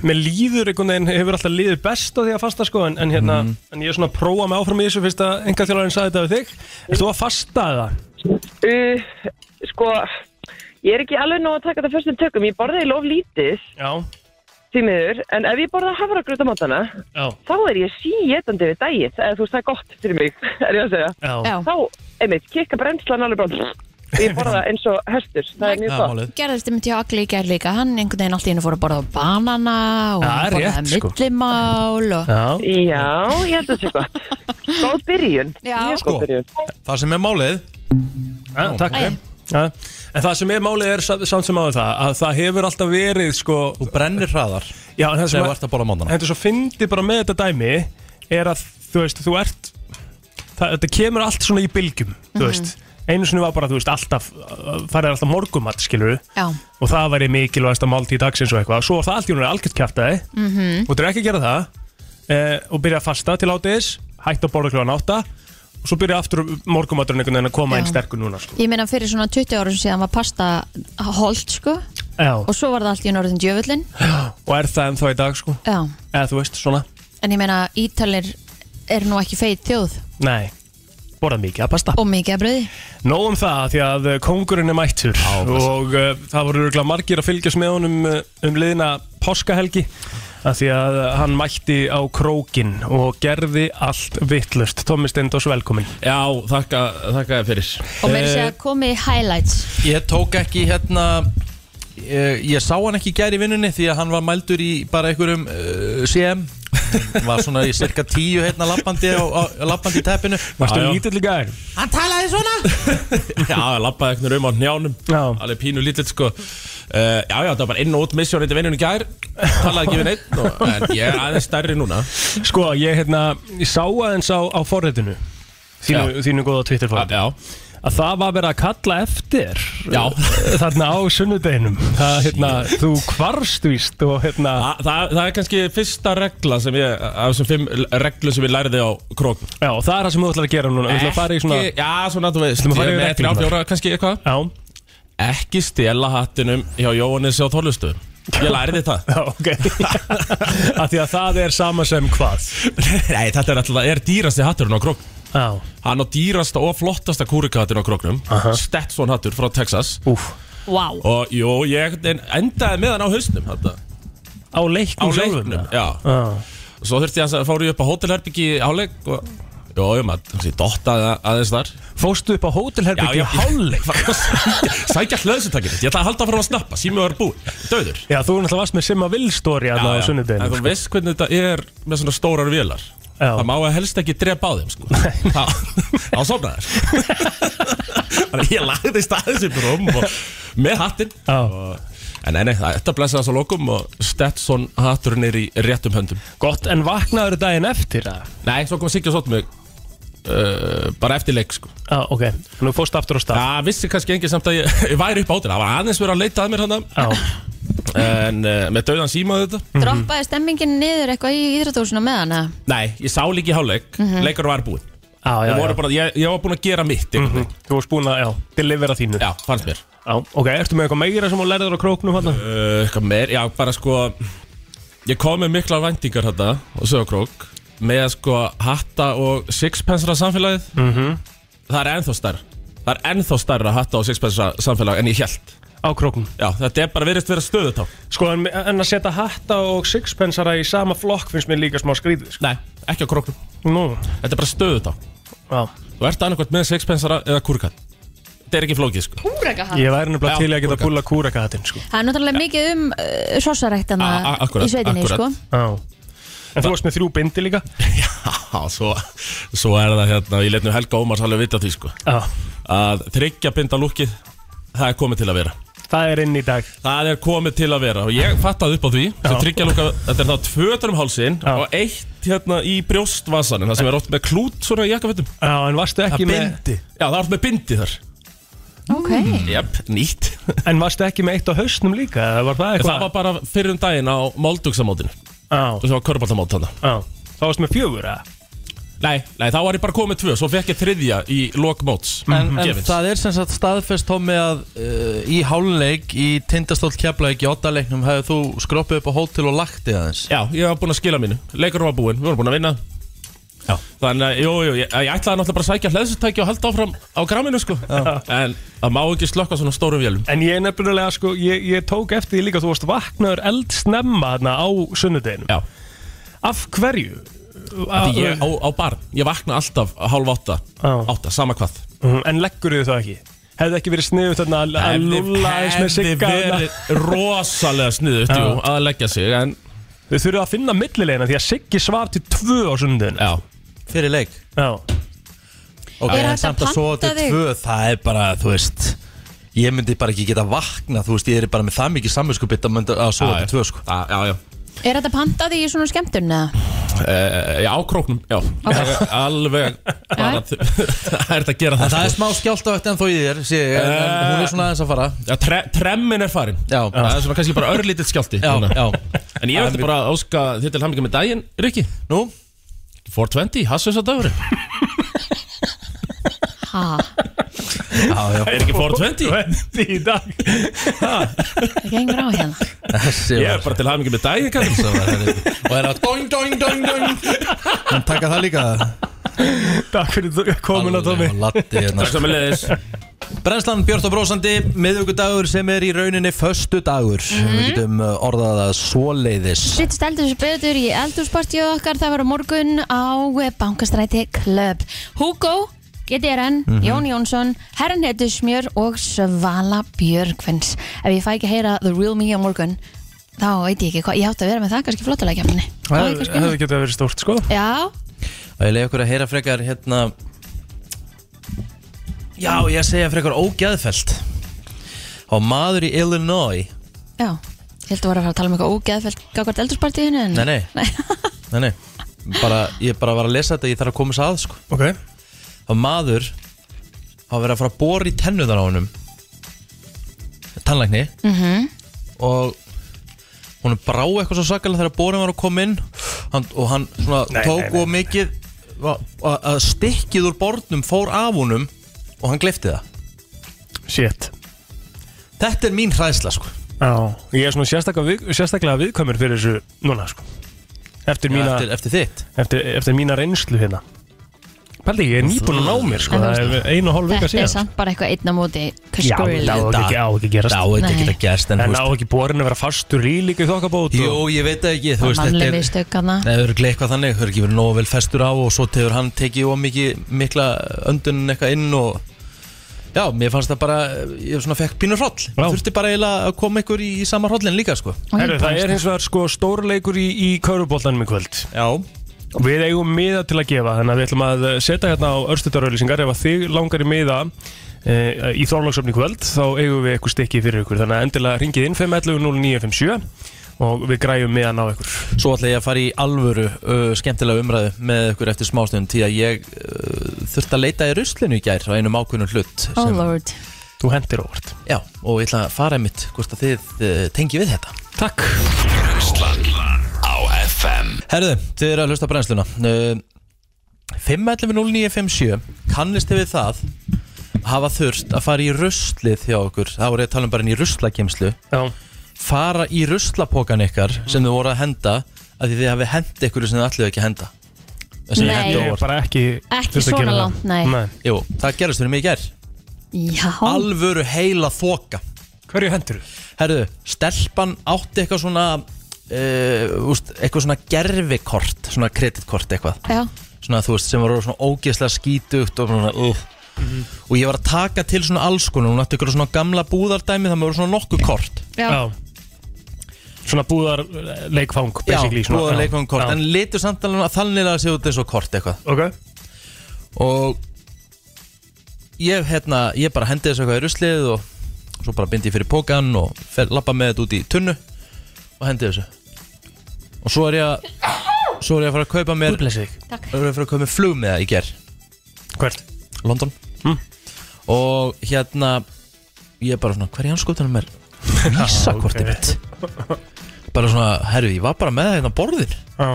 Mér líður einhvern veginn Hefur alltaf líður best á því að fasta sko. en, en, hérna,
Mhm.
en ég er svona að prófa mig áfram í þessu Fyrst að enga þjólarinn sagði þetta við þig Ert þú að fasta eða?
Uh, sko, ég er ekki alveg nóg að taka þetta fyrstum tökum. Ég borðaði lof lítið.
Já.
Því miður, en ef ég borða hafragröta mótana,
Já.
þá er ég síétandi við dagið. Eða þú veist, það er gott fyrir mig, [LAUGHS] er ég að segja.
Já. Já.
Þá, einmitt, kikka brennslan alveg bara... Ég
[LAUGHS]
borða eins og hestur, það er mjög gott.
Gerðist þetta með hjá Agli í gær líka Hann einhvern veginn allt í hennu fór að borða á banana og
Já,
hann
rétt,
borðaði
sko.
millimál og...
Já, ég held það sé gott. Góð byrjun.
Já.
Mjög
Sko,
góð byrjun.
það sem er málið
ja, Takk
Æ.
ja. En það sem er málið er sa- samt sem áður það Að það hefur alltaf verið sko, Þú
brennir hraðar
Já, en það sem
Þegar þú ert að borða mánana.
Þetta er svo fyndi bara með þetta dæmi
Mhm.
Er að þú veist, þú ert það, Þetta kemur allt svona í bylgjum Þú veist einu sinni var bara, þú veist, alltaf farið alltaf morgumat, skilur
Já.
og það væri mikilvægast að máltíð dagsins og eitthvað svo var það allt í hún er algjört kjæftæði
Mhm.
og þú er ekki að gera það eh, og byrja að fasta til átiðis, hætta að borða kljóðan átta og svo byrja aftur morgumaturinn einhvern veginn að koma
Já.
einn sterkur núna sko.
Ég meina fyrir svona 20 árum síðan var pasta hold sko
Já.
og svo var það allt í norðin djöfullin
og er það ennþá í dag sko
Já.
eða þú veist, svona,
en ég meina Ítalir er nú ekki feit þjóð
nei borða mikið að pasta
og mikið að brauði
Nóg um það því að eh, kóngurinn er mættur og uh, það voru örugglega margir að fylgjast með honum uh, um liðina páskahelgi að því að eh, hann mætti á krókin og gerði allt vittlust. Tommi Stendós velkomin
Já, þakka, þakka þér fyrir
og meira segja
Eh.
komið í highlights
Ég tók ekki hérna Ég, ég sá hann ekki í gær í vinnunni því að hann var mældur í bara einhverjum uh, CM var svona í cirka tíu hérna lappandi, á, á, lappandi í teppinu
Varstu
Já, já.
lítill í gær?
Hann talaði svona
[LAUGHS] Já, ég lappaði eitthvað um á njánum
Já
Alveg pínu lítill sko uh, Já, já, það var bara inn og út misjón Þetta vinnunum gær Talaði ekki við
[LAUGHS]
neitt og, En ég er aðeins stærri núna
Sko, ég, hérna, ég sá aðeins á, á forritinu þínu, þínu góða Twitter forritinu að það var verið að kalla eftir
Já.
eh, þarna á sunnudeginum það, hérna, þú kvarst víst og hérna
Þa, það, það er kannski fyrsta regla sem ég Af þessum fimm reglum sem ég læriði á krók
Já, og það er það sem þú ætlar að gera núna Þú ætlar að fara í svona
Ekki- Já, svona, þú veist
Ætlum að fara
ég er
yfir
með
reglurnar.
þrjá, fjóra, kannski eitthvað
Já
Ekki stela hattinum hjá Jóhannes á Þorlustu Ég læriði það
Já, ok að Því að það er sama sem hvað
[LAUGHS] Nei, þetta er alltaf, er dýrasti hatturinn á krók
Já
Hann á dýrasta og flottasta kúrikahattin á króknum Stetson hattur frá Texas
Úf
wow.
Og jú, ég en- endaði með hann á hausnum þetta.
Á leiknum
Á
sjálfum,
leiknum, já
Já.
Svo þurfti ég að fóru upp á hótelherbyggi áleik og Jó, ég maður, kannski dottaði aðeins þar
Fóstu upp á hótelherbyggi í
háleik Sækja hlöðsutakir Ég ætla að halda frá að snappa, sími var búinn Dauður
Já, þú náttúrulega varst með Simma Vilstori aðna á sko. sunnudeginu
En þú veist hvernig þetta er með svona stórar vélar
Já.
Það má að helst ekki drepa á þeim sko. Þá sofnaði
[LAUGHS]
sko. Þannig að ég lagði staðis upp róm og með hattinn og, En nei, nei, það- þetta blessaði svo lokum og Stetson hatturinn er í réttum höndum
Gott, en vaknaður daginn eftir það?
Nei, svo kom Siggi og Sotmug uh, bara eftir leik sko.
Já, ok, nú fórstu aftur á stað
Já, vissi kannski engin samt að ég, [LAUGHS] ég væri upp á þetta Það var aðeins verið að leita að mér hann En uh, með dauðan símaði þetta
droppaði stemmingin niður eitthvað í íþrótúsuna með hana
Nei, ég sá líki háleik mm
Mhm.
Leikar var búinn
Já,
Þeir
já,
voru
já.
bara, ég, ég var búinn að gera mitt mm -hmm.
Þú varst búinn að, já, delivera þínu
Já, fannst mér
Já, ok, ertu með eitthvað meira sem þú lærður á króknum hann?
uh, Eitthvað meir, já, bara sko Ég kom með mikla væntingar þetta Og sögokrók Með sko hatta og sixpensra samfélagið
Mhm.
Hm? Það er ennþá stærra Það er ennþá stærra hatta og sixpensra samfélag En ég held
Á króknum
Já, þetta er bara verið að vera stöðutá
Sko, en, en að setja hatta og sixpensara í sama flokk finnst mér líka smá skrítið sko.
Nei, ekki á króknum
Nú
Þetta er bara stöðutá
Já
Þú ert annarkvæmt með sixpensara eða kúrkan Þetta er ekki flókið sko
Kúrekahatt.
Ég væri nefnilega
Já,
til í að geta
kúrekahatt.
búla kúrakahattin sko.
það er náttúrulega mikið um uh, sossaræktana
A- a- akkurat,
í sveitinni
akkurat.
sko
Já
[LAUGHS]
En þú varst með þrjú bindi líka
Já, svo, svo er það hérna, ég let nú Helga Ómars alveg vita því sko
Já.
Að þryggja binda lúkið, það er komið til að vera
Það er inn í dag
Það er komið til að vera og ég fattaði upp á því
Já.
Svo þryggja lúka, þetta er þá tvötur um hálsin og eitt hérna í brjóstvasanum Það sem er oft með klút svona í jakkafötum
Já, en varstu ekki með-
bindi Já, það er oft með bindi þar
okay.
Jep, nýtt
[LAUGHS] En varstu ekki með eitt á hausnum líka? eða Var það
Það
eitthvað?
var bara fyrir um daginn á Moldugsamótinu
Já
Og svo var körbáltamót þarna
Já, þá varst með fjögur eða?
Nei, nei, þá var ég bara komið tvö, svo fekk ég þriðja í lokmóts
Mhm.
En, en það er sem sagt staðfest Tommi að uh, í háluleik í tindastóll keflaug í ottaleiknum hefur þú skroppið upp á hótel og lagt í aðeins
Já, ég var búinn að skila mínu Leikur var búinn, við vorum búin að vinna Já. Þannig að, jú, jú, ég, ég ætlaði náttúrulega bara að sækja hleðsutæki og halda áfram á graminu, sko En það má ekki slökka svona stórum vélum
En ég nefnilega sko, ég, ég tók eftir því líka að þú varst vaknaður eldsnemma þarna á sunnudeginum
Já
Af hverju?
Því
uh,
ég á, á barn, ég vakna alltaf hálf átta, átta, sama hvað
Mhm, En leggur þau það ekki? Hefði ekki verið sniðut þarna að- að lúlla eins með sigga [LAUGHS]
verið rosalega sniðut, jú,
Já.
að leggja sig en...
Þau þurfið að finna millilegina því að Siggi svar til tvö á sundin
Já
Fyrir leik
Já
Ok,
Er hægt
en
að
samt að svo
panta
til
þig?
tvö það er bara, þú veist Ég myndi bara ekki geta vakna, þú veist, ég er bara með það mikið samvinskupið að, mynda- að sofa
Já,
til tvö sko
Já, já, já
Er þetta pantaði í svona skemmtun eða?
Eh, Já, á króknum, já Alveg bara þ- [LAUGHS] Það er þetta að gera það sko. Eh.
Það er smá skjáltavægt en þó í þér sé, ég, en, en hún er svona aðeins að fara
Já, tre, tremmin er farin
Já
Það er svona kannski bara örlítið skjálti
Já,
núna.
já.
En ég ætti bara að óska þér til hamingja með daginn, Rikki
Nú?
420, hassu þess að dagur
Ha,
Já, já Er ekki 420?
20 [LAUGHS] í dag
það gengur á hérna
[LAUGHS] Ég er bara til hamingja með daginn, kannski Og er að doing, doing, doing, doing
En taka það líka
Takk fyrir komin að Tómi
Latti hérna
Takk sem er leiðis
Brennslan Björn og Brósandi miðvíkudagur sem er í rauninni föstu dagur Við getum uh, orðað það svoleiðis
Sitt steldur sér betur í eldúspartíu okkar Það var á morgun á Bankastræti Club Hugo, GDRN,
Mhm.
Jón Jónsson Herran Hedusmjör og Svala Björgvins Ef ég fæ ekki að heyra The Real Me á morgun Þá veit ég ekki hvað, ég átti að vera með það kannski flottulega kemni
Það hefði getið að vera stórt sko
Já,
Og ég leiði okkur að heyra frekar hérna Já, ég segja frekar ógeðfelt Og maður í Illinois
já, ég held að vera að fara að tala um eitthvað ógeðfelt Gagvart eldúspartíinu en...
Nei, nei,
[LAUGHS]
nei, nei. Bara, Ég bara var að lesa þetta, ég þarf að koma þess að sko.
Ok
Og maður hafa verið að fara að bóra í tennuðan á honum Tannlækni
Mhm.
Mm.
og hún brá eitthvað svo sakalega þegar bórin var að koma inn hann, og hann svona
Nei,
tók
nei, nei.
og mikið va- a- að stikkið úr bórnum fór af honum og hann gleyfti það
Shit
Þetta er mín hræðsla sko
Já, ég er svona sérstaklega, við, sérstaklega viðkvæmur fyrir þessu núna sko Eftir
Já,
mína
eftir- eftir þitt
Eftir, eftir mína reynslu hérna Paldi, ég er nýbúin að ná mér sko
En þú
Það er einu og hálf vika
Þetta er
síðan
samt bara eitthvað einn á móti
Já, það á ekki, á ekki að gerast
Það á ekki að geta gerst, en
En
þú
á ekki borin að vera fastur í líka í þokkabót og-
Jú, ég veit það ekki, þú veist, þetta
Mannlega
er
mistök hana
Nei, það eru eitthvað þannig, það eru ekki verið nógu vel festur á og svo tegur hann tekið of mikið, mikla öndunin eitthvað inn og já, mér fannst það bara, ég svona fekk pínur hroll, þurfti bara eiginlega að koma ykkur í, í sama hrollin líka, sko
Herru, það er hins vegar sko stórleikur í, í kauruboltanum í kvöld
Já
Og við eigum miða til að gefa Þannig að við ætlum að setja hérna á örstutarauðlýsingar Ef að þig langar í miða e, í Þorlóksöfni kvöld Þá eigum við eitthvað stykki fyrir ykkur Þannig að endilega ringið inn 511-0957 Og við græjum miðan á ykkur
Svo ætla ég að fara í alvöru uh, skemmtilega umræðu með ykkur eftir smástund því að ég uh, þurfti að leita í ruslinu í gær á einum ákveðnum hlut
Oh lord
Þú hendir óvart
Já, og ég ætla að fara einmitt hvort að þið uh, tengi við þetta
Takk
Brennslan á FM
Herðu, þið eru að hlusta á brennsluna uh, 5.11.09.57 Kannist þið við það hafa þurft að fara í ruslið hjá okkur þá voru ég að tala um bara inn í ruslakemslu fara í ruslapokan ykkar sem þið voru að henda að því þið hafi hend ykkur sem þið allir ekki að henda Sem þið
Nei.
hendu á
Ég
óvart.
bara ekki
Ekki þurft að svona gera það. langt, nei. Nei.
Jú, það gerist fyrir mig í gær
Já
Alvöru heila þoka
Hverju hendur þú?
Herðu, stelpan átti eitthvað svona uh, úst, eitthvað svona gerfikort svona kreditkort eitthvað
Já,
svona þú veist sem var svona ógeðslega skítugt og svona uh.
Mhm.
og ég var að taka til svona alls konar hún átti ykkur svona gamla búðardæmi það voru svona nokkuð kort
Já. Já.
Svona búðar eh, leikfang basically,
Já,
svona-
búðar
já,
leikfang kort
já.
en litur samt alveg að þannig að sé út eins og kort eitthvað
Ok
og ég hérna ég bara hendi þessu eitthvað í ruslið og svo bara bindi ég fyrir pókan og fer, lappa með þetta út í tunnu og hendi þessu og svo er ég að svo er ég að fara að kaupa mér
Guðblessi þig
Takk
Svo er ég að fara að kaupa mér flug með það í ger
Hvert? Hm.
London Og hérna Ég er bara svona, hver í anskotunum er
[LAUGHS]
Vísakortið mitt Bara svona, herru, ég var bara með það hérna á borðin
Já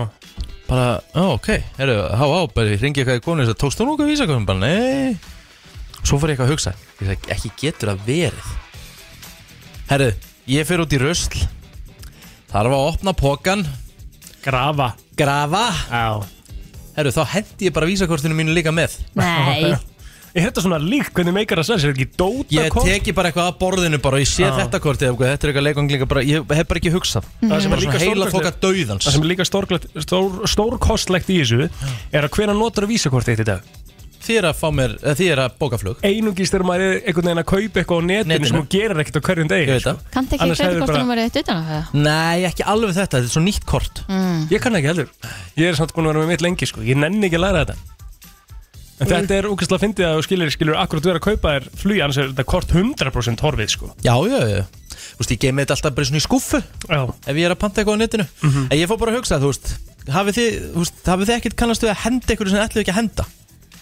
Bara, já, ok Herru, há, há, bara ég ringi eitthvað í konu og sagði, Tókst þú nokkuð vísakortum? Bara, nei Svo fór ég eitthvað að hugsa Ég sagði, ekki getur það verið Herru, ég fer út í rusl Þarf að opna pokan
Grafa
Grafa
Já
Herru, þá hendi ég bara vísakortinu mínu líka með
Nei. [LAUGHS] Er þetta svona líkt hvernig meikar það sens? Er þetta ekki dóta
Ég teki bara eitthvað að borðinu bara og ég sé
Já.
þetta kortið eitthvað, þetta er eitthvað leikvanglinga bara, ég hef bara ekki hugsað
Það sem er líka
heila þoka
stórkostlegt-
dauðans
Það sem er líka stórkostlegt- stór, stórkostlegt í þessu Er að hvena notar að vísa hvort eitt í dag
Þið er að fá mér, eða þið er að bóka flug
Einungis þegar maður er einhvern veginn að kaupa eitthvað á netinu,
Netinu.
sem þú gerir ekkert á hverjum degi sko. Ég veit það
kanntu ekki kreditkortinu bara... verið utan á það
Nei, ekki alveg þetta, þetta er svo nýtt kort
mm.
Ég kann ekki heldur Ég er samt búin að vera með mitt lengi sko Ég nenni ekki að læra þetta En þetta er úkastlega fyndið að þú skilur, skilur akkurat vera að kaupa þér flugi annars er þetta kort 100% horfið sko
Já, já, já þú veist, ég gemi þetta alltaf bara svona í skúfu
Já. Mhm.
ef ég er að panta eitthvað á netinu en ég fór bara að hugsa, þú veist hafið þið, þú veist, hafið þið ekkert kannast við að henda eitthvað sem þið ætlið ekki að henda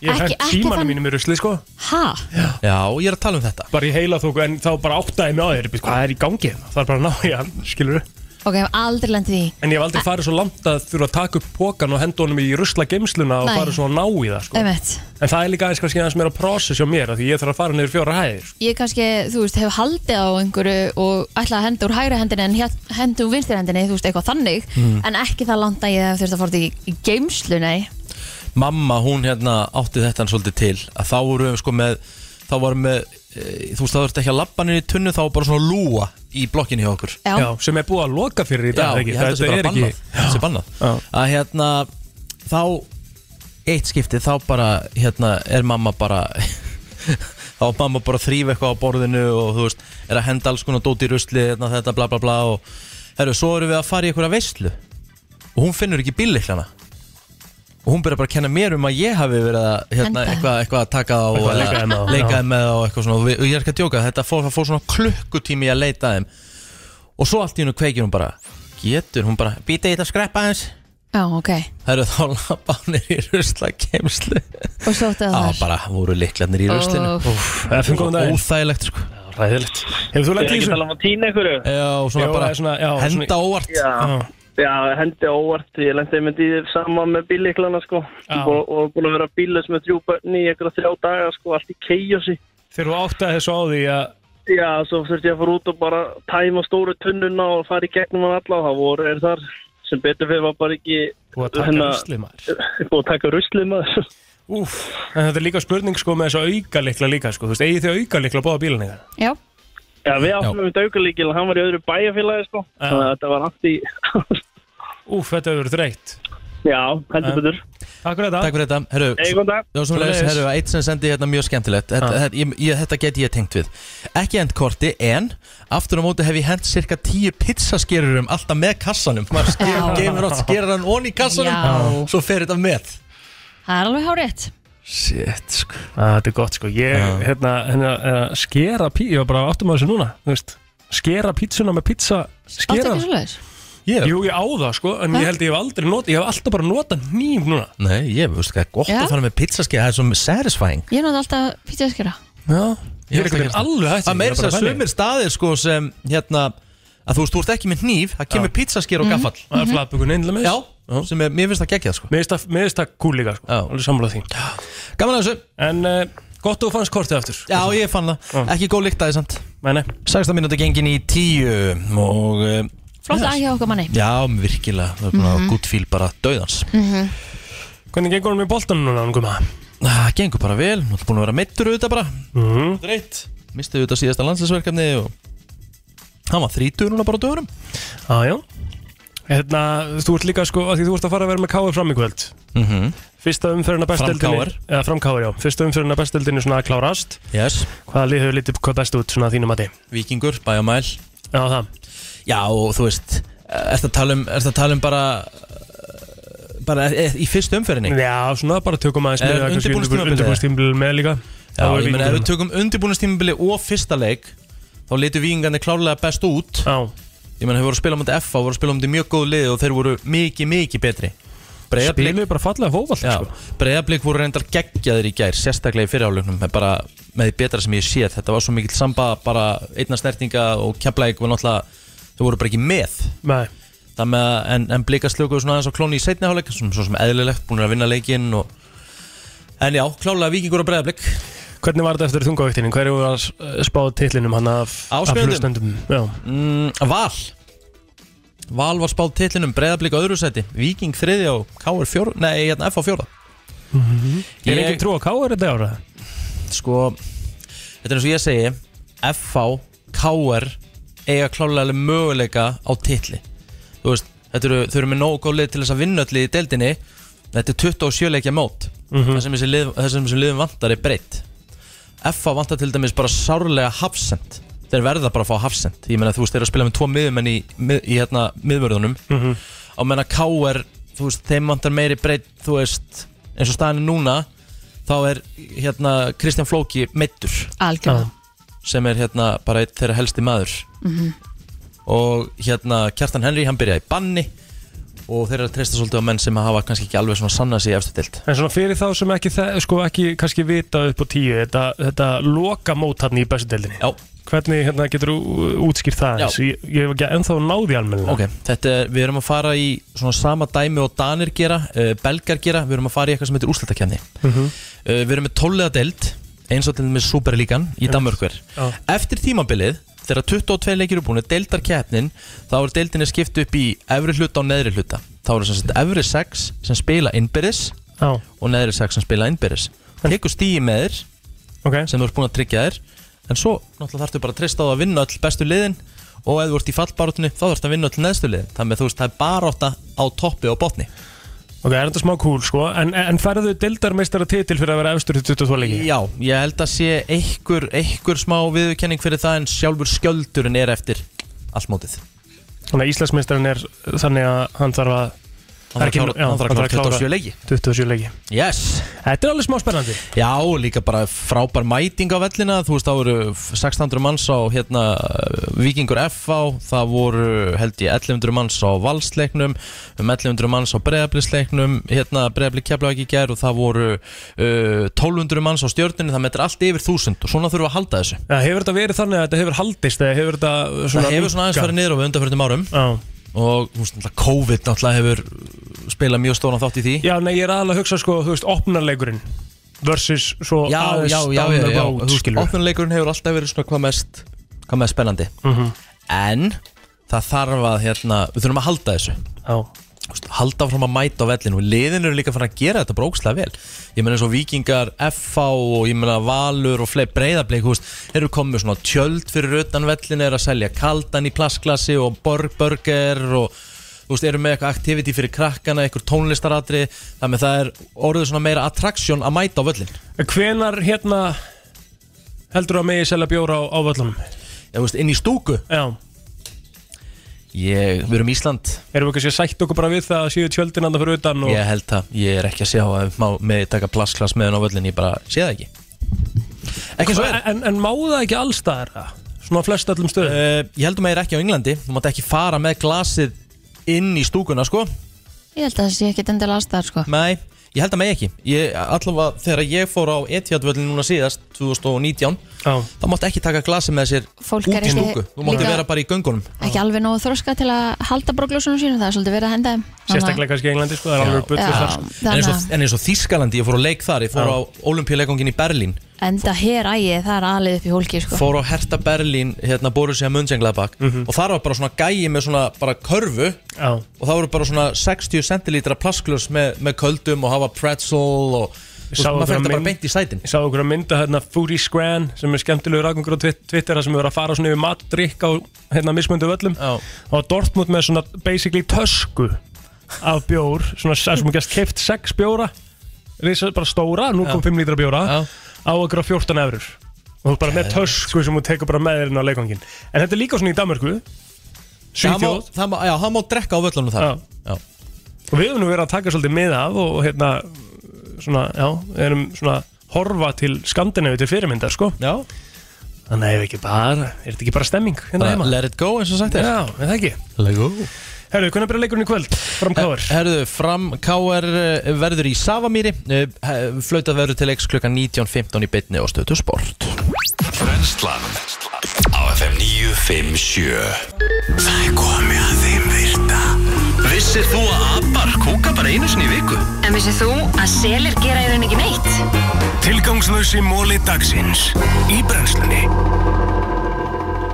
Ég hef hent símanum mínum í rusli sko
Ha?
Já, ég er að tala um þetta
Bara í heila þóku en þá bara áttaði mig á þér Hvað er í gangi? hérna? Það er bara að ná í hann, skilur
Ok, ég hef aldrei lendið í
En ég hef aldrei farið svo langt að þurfa að taka upp pókan og henda honum í rusla geimsluna og
Nei.
fara svo að ná í það sko.
Einmitt.
En það er líka aðeins kannski aðeins meira process hjá mér af Því ég þarf að fara niður fjóra hæðir sko.
Ég kannski, þú veist, hef haldið á einhverju og ætlaði að henda úr hægri hendinni en hélt- henda úr vinstri hendinni, þú veist, eitthvað þannig
Mm.
en ekki það landa ég hef þurft að fór þetta í, í geimslu, nei
mamma hún hérna átti þetta hann svolítið til að þá voru við sko með þá varum með, e, þú veist það þurfti ekki að labba niður í tunnu þá var bara svona lúa í blokkinni hjá okkur
Já. Já,
sem er búið að loka fyrir í dag,
Já,
ekki?
ég held að
Þetta
það sé
er
bara
ekki-
bannað, það sé bannað. að hérna þá eitt skipti þá bara hérna er mamma bara [LAUGHS] þá er mamma bara að þrýfa eitthvað á borðinu og þú veist, er að henda alls konar dót í rusli hérna, þetta bla bla bla og herru, svo erum við að fara í einhverja veislu og hún finnur ekki bílliklana og hún byrjar bara að kenna mér um að ég hafi verið að hérna,
Henda.
eitthvað, eitthvað að taka á
Eitthvað að leika þeim á, já.
leikaði með það og eitthvað svona og, við, og ég er ekki að djóka, þetta fór, það fór svona klukkutími í að leita að þeim og svo allt í hennu kveikir hún bara getur, hún bara, býta ég þetta að skreppa aðeins
Já, ok,
það eru þá labbanir í rusla kemslu
og svo ætti það
á
þar
bara voru liklarnir í ruslinu
Úff. Úff,
FM, góðan daginn.
óþægilegt sko
ræðilegt Hefur þú lent í
Ég er ekki að
þessu?
tala
um að týna einhverju
Já, svona bara henda óvart
Já.
Já, já hendi óvart Ég lendi einmitt í þér sama með bíliklana sko
Já.
og, og búin að vera bílis með þrjú bönni í einhverja þrjá daga sko Allt í keijósi
Þegar þú áttaði þessu á því að
Já, svo þurfti ég að fara út og bara tæma stóru tunnuna og fara í gegnum hann alla og það voru er þar sem betur fyrir var bara ekki
Búið að taka
hérna-
ruslið,
Búið að taka ruslið maður
Úf, en þetta er líka spurning sko með þessu aukalikla líka sko, þú veist, eigið þið aukalikla bóða bílinni
Já
Já, við áttum um daukalíkil, hann var í öðru bæjarfélagi sko Þannig að þetta var allt í
Úf, þetta hefur verið dreitt
Já, heldur betur
Takk fyrir þetta
Takk fyrir þetta, herru
Hey, góðan dag.
Já, sem leys,
Sömuleiðis.
herru, eitt sem sendi hérna mjög skemmtilegt Þetta, þetta, ég, ég, þetta get ég tengt við Ekki endkorti, en Aftur á móti hef ég hent cirka tíu pizzaskerurum Alltaf með kassanum Maður
Já.
sker- geymir átt, skerar hann onni í kassanum
Já.
Svo fer þetta með
Það er alveg hárétt
Shit, sko
Þetta er gott sko, ég, hérna, hérna uh, skera pí, ég var bara áttum að þessu núna þú veist, skera pítsuna með pítsa
Áttu
skera
ekki svoleiðis?
yeah.
Jú, ég á það sko, en ég held ég hef aldrei notað ég hef alltaf bara notað nýjum núna
Nei, ég veist hvað, er gott
Já.
að fara með pizzaskeru Það er svo satisfying
Ég náði alltaf pítjaskjöra
Já,
Ég er einhvern veginn alveg hættur
Það meira
Ég er
sér
bara
að
þannig.
sumir staðir sko sem hérna að þú veist, þú ert ekki með hníf, það kemur pizzasker og gaffall
Mhm.
Mhm.
Það er flatbökun einlega með
Já, sem er, mér finnst það geggjað sko
Mér finnst það- mér finnst það cool líka sko, alveg samlega því
Gaman að þessu
En uh, gott að þú fannst kortið aftur
Já, ég fann það, ekki góð líkt aðeins
Nei, nei
16 mínúti gengin í 10 og eh,
Flott að hjá okkar manni
Já, virkilega, það er svona mm
Mhm.
gutt fíl bara döðans
Mhm.
Hvernig gengur hann með boltanum núna, hann guma?
Það gengur bara vel, þú ert búin að vera meittur auðvitað bara
mm.
Dreitt, mistið auðvitað síðasta landslæsverkefni og hann var 30 núna bara á döðurum
Já, já Hérna, þú ert líka sko, að því þú ert að fara að vera með KF fram í kvöld
Mhm.
Fyrsta umferðina
Fram
besteldinni
KR.
Eða fram KR, já Fyrsta umferðina besteldinni svona að klárast
Yes
Hvaða lið hefur litið hvað best út svona að þínu mati?
Víkingur, bæjamæl
Já, það
Já, og þú veist, erst að tala um, ertu að tala um bara eh, bara eh, í fyrstu umferðinni
Já, svona bara tökum aðeins
Er Eh, undirbúningstímabilið?
Undirbúinstímabil með líka
Já, ég meina ef við tökum undirbúinastímabili og fyrsta leik þá litu vikingarnir klárlega best út
Já
Ég meina, þeir voru að spila á mútið FA, voru að spila á mútið mjög góð lið og þeir voru mikið, mikið betri Breiðablik,
Spiluðu bara fallega sko. fótball
já, breiðablik voru reyndar geggjaðir í gær, sérstaklega í fyrirháleiknum með bara, með því betra sem ég sé þetta var svo mikill samba, bara einna snertinga og kemplæk var náttúrulega þau voru bara ekki með
Nei
Það með að, en, en blika slökuðu svona aðeins á klóni í seinni hálfleik svona, svona sem eðlilegt, búin að vinna leikinn og... En já, klálega vikingur og breiðablik
Hvernig var þetta eftir þungavæktinni? Hverju var að s- eh, spá titlinum hann af af
Áspyrjandum?
hlustendum? Já
mm, Val Val var spáð titlinum breiðablik á öðru seti Viking þriði og KR fjóra Nei, hérna F á fjóra
Er engin trú á KR þetta ára?
Sko, þetta er eins og ég segi F á KR eiga klálega alveg möguleika á titli Þú veist, þetta eru, þau eru með nógu góð lið til þess að vinna öll í deildinni Þetta er 27 leikja mót
Mhm.
Það sem þessi lið, það sem þessi liðum vantar er breytt F.A. vantar til dæmis bara sárlega hafsend Þeir verða bara að fá hafsend Ég meina þú veist þeir eru að spila með tvo miðumenn í, mið, í hérna miðvörðunum
Mhm.
Á meina K.R. þú veist þeim vantar meiri breytt Þú veist eins og staðan er núna Þá er hérna Kristján Flóki meittur
Algjörlega
sem er hérna bara einn þeirra helsti maður
Mhm.
og hérna Kjartan Henry hann byrjaði í banni og þeir eru að treysta svolítið á menn sem hafa kannski ekki alveg svona sannað sig í efstu dild
En svona fyrir þá sem ekki, þe- sko, ekki kannski vita upp á tíu þetta, þetta loka mót hann í bestudeldinni
Já
Hvernig hérna, getur þú útskýrt það eins? Ég, ég hef ekki ennþá náði almenna
Ok, þetta er, við erum að fara í svona sama dæmi og Danir gera, uh, Belgar gera, við erum að fara í eitthvað sem heitir úrslættakefni. uh,
Mhm.
Við erum með tóllega deild, eins og til með Superlíkan í Danmörkver.
Já.
Eftir tímabilið, þegar 22 leikir eru búin, deildarkeppnin, þá er deildinni skipt upp í efri hluta og neðri hluta. Þá eru sem sagt efri 6 sem spila innbyrðis
Já.
og neðri 6 sem spila innbyrðis. Tekur stíi með þér
okay.
sem þú ert búin að tryggja þér, en svo náttúrulega þarftu bara að treysta á að vinna öll bestu liðin og ef þú ert í fallbaróttunni þá þarftu að vinna öll neðstu liðin þannig að þú veist það er barótta á toppi og botni
Ok, er þetta smá kúl sko En, en færðu deildarmeistara titil fyrir að vera efstur í 22 leiki?
Já, ég held að sé einhver, einhver smá viðurkenning fyrir það en sjálfur skjöldurinn er eftir allt mótið
Þannig að Íslandsmeistarinn er þannig að hann þarf að
Hann þarf að
ekki-
klára-
já,
hann þarf að klára 27 leiki.
27 leiki
Yes
Þetta er alveg smá spennandi
Já, og líka bara frábær mæting á vellina Þú veist, það voru 600 manns á hérna, uh, Vikingur FH Það voru, held ég, 1100 manns á Valsleiknum um 1100 manns á Breiðablisleiknum hérna, Breiðablik keflaði ekki gær og það voru uh, 1200 manns á stjörnunni Það metur allt yfir 1000 og svona þurfum við að halda þessu
Já, hefur þetta verið þannig að þetta hefur haldist eða hefur þetta svona
Það hefur svona aðeins
minnkað?
farið niður á við undanfjörðum árum
Já.
Og þú veist, náttúrulega COVID náttúrulega hefur spilað mjög stóran þátt í því
Já, nei, ég er aðalega að hugsa sko, þú veist, opnarleikurinn versus svo
já,
aðeins
já, já, já,
down
já,
about,
já.
skilurðu.
Opnunleikurinn hefur alltaf verið svona hvað mest, hvað mest spennandi
Mhm.
En það þarf að, hérna, við þurfum að halda þessu
Já
halda fram að mæta á vellinu og liðin eru líka farin að gera þetta brókslega vel ég meina eins og vikingar, FH og ég meina Valur og fleip breyðablik þú veist, eru komið svona tjöld fyrir utan vellinu eru að selja kaldan í plastglasi og borgburger og þú veist, eru með eitthvað aktiviti fyrir krakkana eitthvað tónlistaratri, þannig að það er orðið svona meira attraction að mæta á vellin
Hvenar hérna heldur að megi selja bjóra á, á völlunum?
Já, veist, inn í stúku?
Já
Ég, við erum Ísland
Erum við kannski að sætt okkur bara við það að séu tjöldin andan fyrir utan og...
Ég held það, ég er ekki að sjá að má með taka plastglas með hann á völlin, ég bara sé það ekki Ekki eins og er
Sko, En, en má það ekki allstaðar það? Svona flest öllum stöðum
Eh, Ég heldum að ég er ekki á Englandi, þú mátt ekki fara með glasið inn í stúkuna sko
Ég held að það sé ekkit endilega aðstæðar sko
Nei, ég held að með ekki ég, Allavega þegar ég fór á Etihadvöllin núna síðast 2019
Já.
Það mátt ekki taka glasið með sér
Fólk
út
er
í
ekki-
stúku Þú mátti
líka-
vera bara í göngunum
Ekki alveg nógu þroska til að halda brókljósunum sínum Það er svolítið verið að henda þeim Þannig að-
Sérstaklega kannski í Englandi sko, það er
Já.
alveg bullur
Já.
þar sko.
Þannig
En eins, og,
að-
en eins og Þískalandi, ég fór á leik þar Ég fór
Já.
á olimpíuleikongin í Berlín
Enda hér ægi, það er aðlið upp í hólki sko.
fór á Herta Berlín hérna Borussia Mönchengladbach og þar var bara svona gæi með svona bara körfu
Mhm. Já.
og það voru bara svona 60 centilítra plastglös með, með köldum og hafa pretzel og þú veist, maður fyrir þetta bara beint í sætin
Ég sá okkur að mynda hérna Foodie Scran sem er skemmtilegur aðgengur á Twit- Twitter þar sem við erum að fara svona yfir matdrykk á hérna mismöndu völlum
Já.
og Dortmund með svona basically tösku af bjór svona sem hún gæst keift 6 bjóra risa, bara stóra, 0,5 lítra bjóra á okkur á 14 eurur og þú ert bara með tösku sem hún tekur bara með þér inn á leikvangin en þetta er líka svona í Danmörku
Það má-
Svíþjóð
það má- Já, það má drekka á völlunum þar
Já. og við höfum nú verið að taka svolítið mið af og hérna svona, já, erum svona horfa til skandinavi til fyrirmyndar sko
já.
þannig að ef ekki bara, er þetta ekki bara stemming hérna
Bara
heima
let it go eins og sagt er
já, er það ekki
let it go
Herru, hvernig byrja leikurinn í kvöld? Fram Káar
Herðu, fram Káar eh, verður í Savamýri eh, he- Flautað verður til leiks klukkan 19.15 í beinni og stötu sport
Brennslan á FM 957 Það er komið að þeim virta Vissir þú að abar kúka bara einu sinni í viku?
En vissið þú að selir gera í rauninni ekki neitt?
Tilgangslösi móli dagsins í brennslunni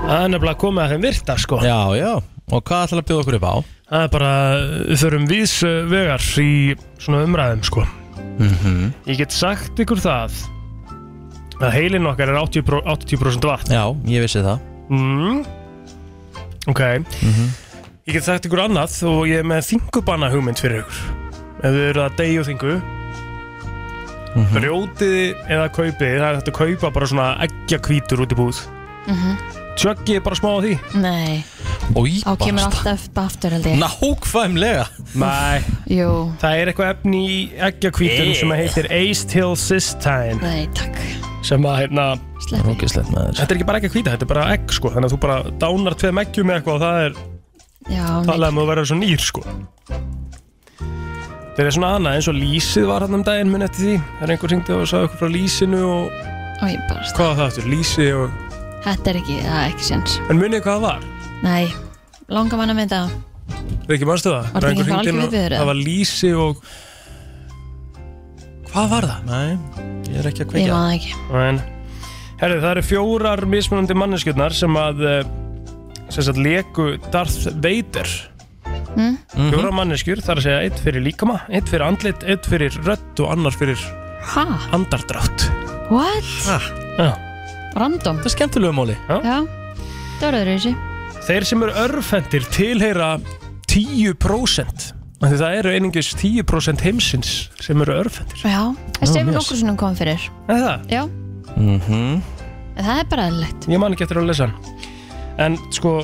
Það er nefnilega komið að þeim virta sko
Já, já, og hvað ætlar að bjóða okkur upp á?
Það er bara, við þurfum vís uh, vegar í svona umræðum sko
Mhm
Ég get sagt ykkur það að heilinn okkar er 80%, pró- 80 vatn
Já, ég vissi það Mhm.
mm. Ok Ég get sagt ykkur annað og ég er með þingubanna hugmynd fyrir ykkur Ef þið eru að deyja og þingu mm
Mhm.
-hmm. eða kaupið Það er hægt að kaupa bara svona eggjakvítur út í búð
Mhm.
Tjöggið bara smá á því
Nei,
Í,
þá kemur alltaf upp aftur held ég
Nákvæmlega
Nei
Jú.
Það er eitthvað efni í eggjakvítum
Eh.
sem heitir Ace Till Cystine
Nei, takk
sem að hérna
Rókislegt maður
Þetta er ekki bara ekki að hvíta, þetta er bara egg sko Þannig að þú bara dánar tveim eggjum með eitthvað og það er
Já,
talað um að vera svo nýr sko Þetta er svona annað eins og lýsið var hann um daginn minn eftir því Það er einhver hringdi og sagði okkur frá lýsinu og
og ég bara,
Hvað var það eftir? Lýsi og
þetta er ekki, það er ekki séns
En munið hvað það var?
Nei, langa manna með það
Riki, manstu
Var
það?
þetta ekki eitthvað
einhver hringdi inn
algjör
og-
viðvörun?
Það var lýsi og Hvað var það? Nei, ég er ekki að kveikja
Ég man það ekki.
En, herri, það eru fjórar mismunandi manneskjurnar sem að eh, sem sagt leku Darth Vader
mm?
fjórar manneskjur, það er að segja eitt fyrir líkama eitt fyrir andlit, eitt fyrir rödd og annar fyrir
Ha?
andardrátt
What?
ha. Já.
Random
Það er skemmtilegu móli
Já, það var öðru þessi
Þeir sem eru örfendir tilheyra 10% af Því það eru einingis 10% heimsins sem eru örfendir
Já, það
Já,
sem
mjög.
nokkur sinnum kom fyrir
Er það?
Já,
mm -hmm.
en það er bara eðlilegt
Ég man ekki eftir að lesa hann En sko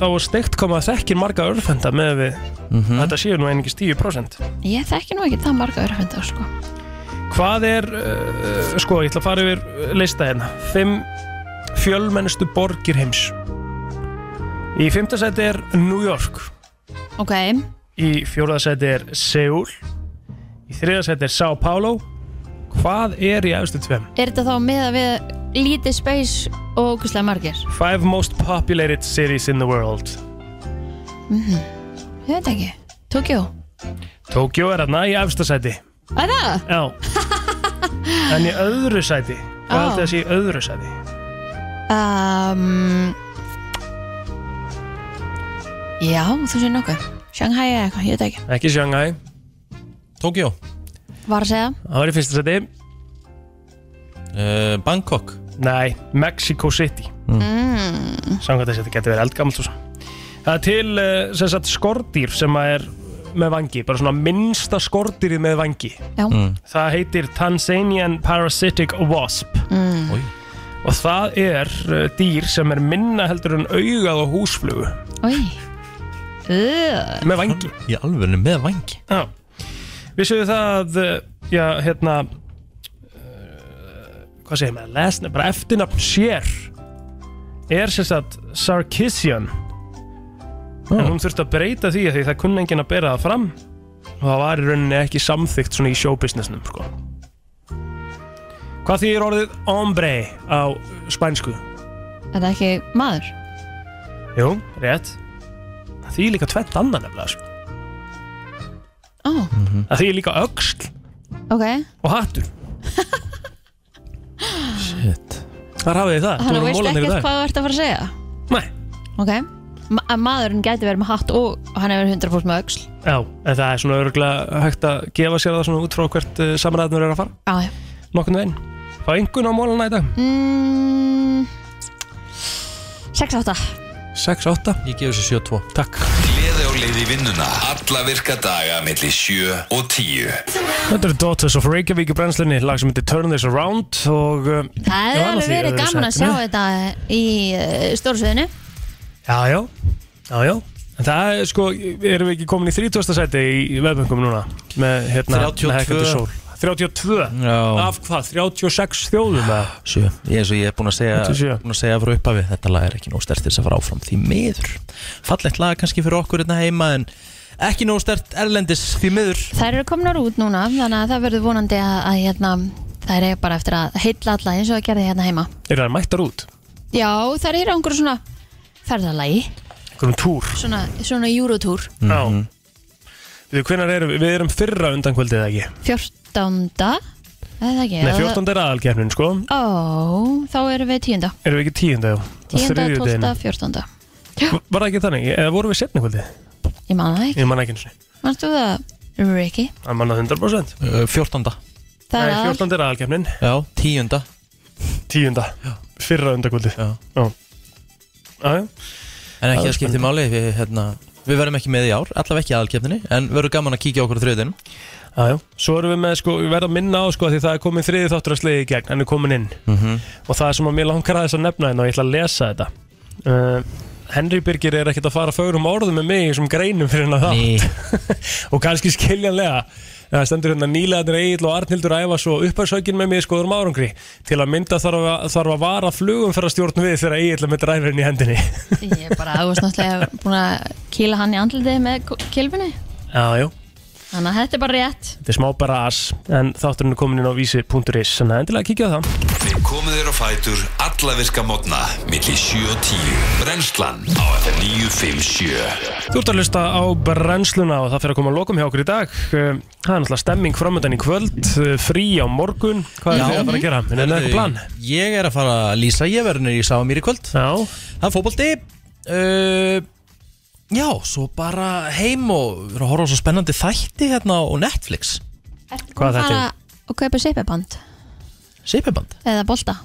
þá er steikt koma að þekkir marga örfenda með við þetta séu nú einingis 10%
Ég þekki nú ekki það marga örfenda sko.
Hvað er, uh, sko, ég ætla að fara yfir uh, lista hérna Fimm fjölmennustu borgir heims Í fimmta seti er New York
Ok,
Í fjórða seti er Seúl Í þriða seti er Sao Paulo Hvað er í efstu tveim?
er þetta þá með að við lítið space og ógustlega margir?
Five most populated cities in the world
Mm Ég veit ekki, Tokjó
Tokyo er hérna í efsta seti
Er það?
Já En í öðru seti Hvað
Á.
heldur þessi í öðru seti?
Um, já, þú sé nokkuð Shanghai eða eitthvað, ég veit ekki
Ekki Shanghai Tokyo
Var að segja
Það var í fyrsta seti uh, Bangkok Nei, Mexico City
mm.
Samkvæmt þess að þetta getur verið eldgamalt og svo Það er til uh, sem sagt skordýr sem að er með vangi Bara svona minnsta skordýrið með vangi
Já. Mm.
Það heitir Tanzanian Parasitic Wasp
Mm.
Oi. Og það er uh, dýr sem er minna heldur en augað á húsflugu
Oi. Uh.
Með vangi Í alveg með vangi Já Vissuðu það uh, Já, hérna uh, Hvað segir maður? Lesna, bara eftirnafn sér Er sem sagt Sarkissian En hún þurfti að breyta því af Því það kunni enginn að bera það fram Og það var í rauninni ekki samþygt Svona í showbusinessnum sko. Hvað þýðir orðið ombre Á spænsku?
Þetta er ekki maður
Jú, rétt Það þýðir líka tvent annað nefnilega sko.
Ó,
Það þýðir líka öxl
ok
og hattur Shit Þar hafið þið það,
Þannig að veist
mólarnir Ah, í
ekkert
dag.
hvað þú ert að fara að segja?
Nei.
Ok, Ma að maðurinn gæti verið með hatt og hann hefur 100% með öxl
Já, en það er svona örgulega hægt að gefa sér það svona út frá hvert uh, samræðnur er að fara
Já, já
Nokkurnu veginn Fá engun á mólana í dag
mm, 6-8
6-8
Ég gef þessu 7-2
Takk
Gleði á leið í vinnuna Alla virka daga milli 7 og 10
Þetta eru Daughters of Reykjavík í brennslinni lag sem heitir Turn This Around og uh,
Það
já,
hefur alveg
annað því í
verið
öðru
gaman að sjá
sætinu.
þetta í uh, stórsviðinu
Já, já, já, já En það er sko, erum við ekki komin í 30. sæti í veðböngum núna með hérna, með hækkandi
32.
sól 32
Já.
Af hvað? 36 þjóðum eða?
Sjö. Ég, eins og ég er búin að segja,
27.
búin að segja frá upphafi þetta lag er ekki nóg stert til þess að fara áfram því miður fallegt lag kannski fyrir okkur hérna heima en ekki nóg stert erlendis því miður
Þær eru komnar út núna þannig að það verður vonandi að, að hérna, þær er bara eftir að heilla alla eins og það gerði hérna heima
Eru það mættar út?
Já, þær eru á einhverju svona ferðalagi,
Einhverjum túr?
svona, svona júrotúr
Já Við, hvenar erum, við við erum fyrra undankvöldið eða ekki
14. Það er það ekki
Nei, 14 er aðalkeppnin sko
Ó, þá erum við 10.
Erum við ekki 10. á
10. 12.
þriðjudeginum?
14.
Var það ekki þannig? Eða vorum við setni kvöldið?
Ég man það ekki
Ég manna ekki eins og
Manstu það, Ricky?
Það manna 100%
Uh, 14.
Það er
Nei,
aðal
14. er aðalkeppnin
Já, 10.
10. Fyrra undankvöldið Já, já, já.
en
Það
ekki
er
það skiptir máli við, hérna, við verðum ekki með í ár, allavega ekki aðalkefninni en verður gaman að kíkja á okkur þriðin
Já, já. Svo erum við með, sko, við verðum að minna á sko, því það er komin þriði þáttur að sliði í gegn, hann er komin inn
Mhm.
og það sem að mér langar aðeins að nefna hérna og ég ætla að lesa þetta uh, Henry Birgir er ekkert að fara fögrum orðum með mig sem greinum fyrir hennar þátt [LAUGHS] og kannski skiljanlega það stendur hérna nýlegaðnir Egil og Arnildur æfa svo upphærsaukin með mig í skoðurum árangri til að mynda þarf að, þarf að vara flugum fyrir að stjórn við þegar Egil er með dræfurinn í hendinni
Ég er bara, þú veist náttúrulega búin að kýla hann í andlitið með k- kylfunni
Já, jú,
Þannig að þetta er bara rétt
þetta er smá bara as en þátturinn er komin inn á vísi.is þannig að endilega kíkja á það
Við komum þér á fætur alla virka mótna millir 7 og 10 Brennslan á FM 957
Þú ert að hlusta á brennsluna og það fyrir að koma að lokum hjá okkur í dag Eh, Það er náttúrulega stemming framöndan í kvöld eh, frí á morgun, hvað er þið að fara að gera? Er það eitthvað plan?
Ég er að fara að lýsa ég verður í Sáamýri í kvöld
Já
Það er fótbolti uh, Já, svo bara heim og við erum að horfa á svo spennandi þætti hérna á Netflix
Búin að fara Og kaupa seipaband
Seipaband?
Eða bolta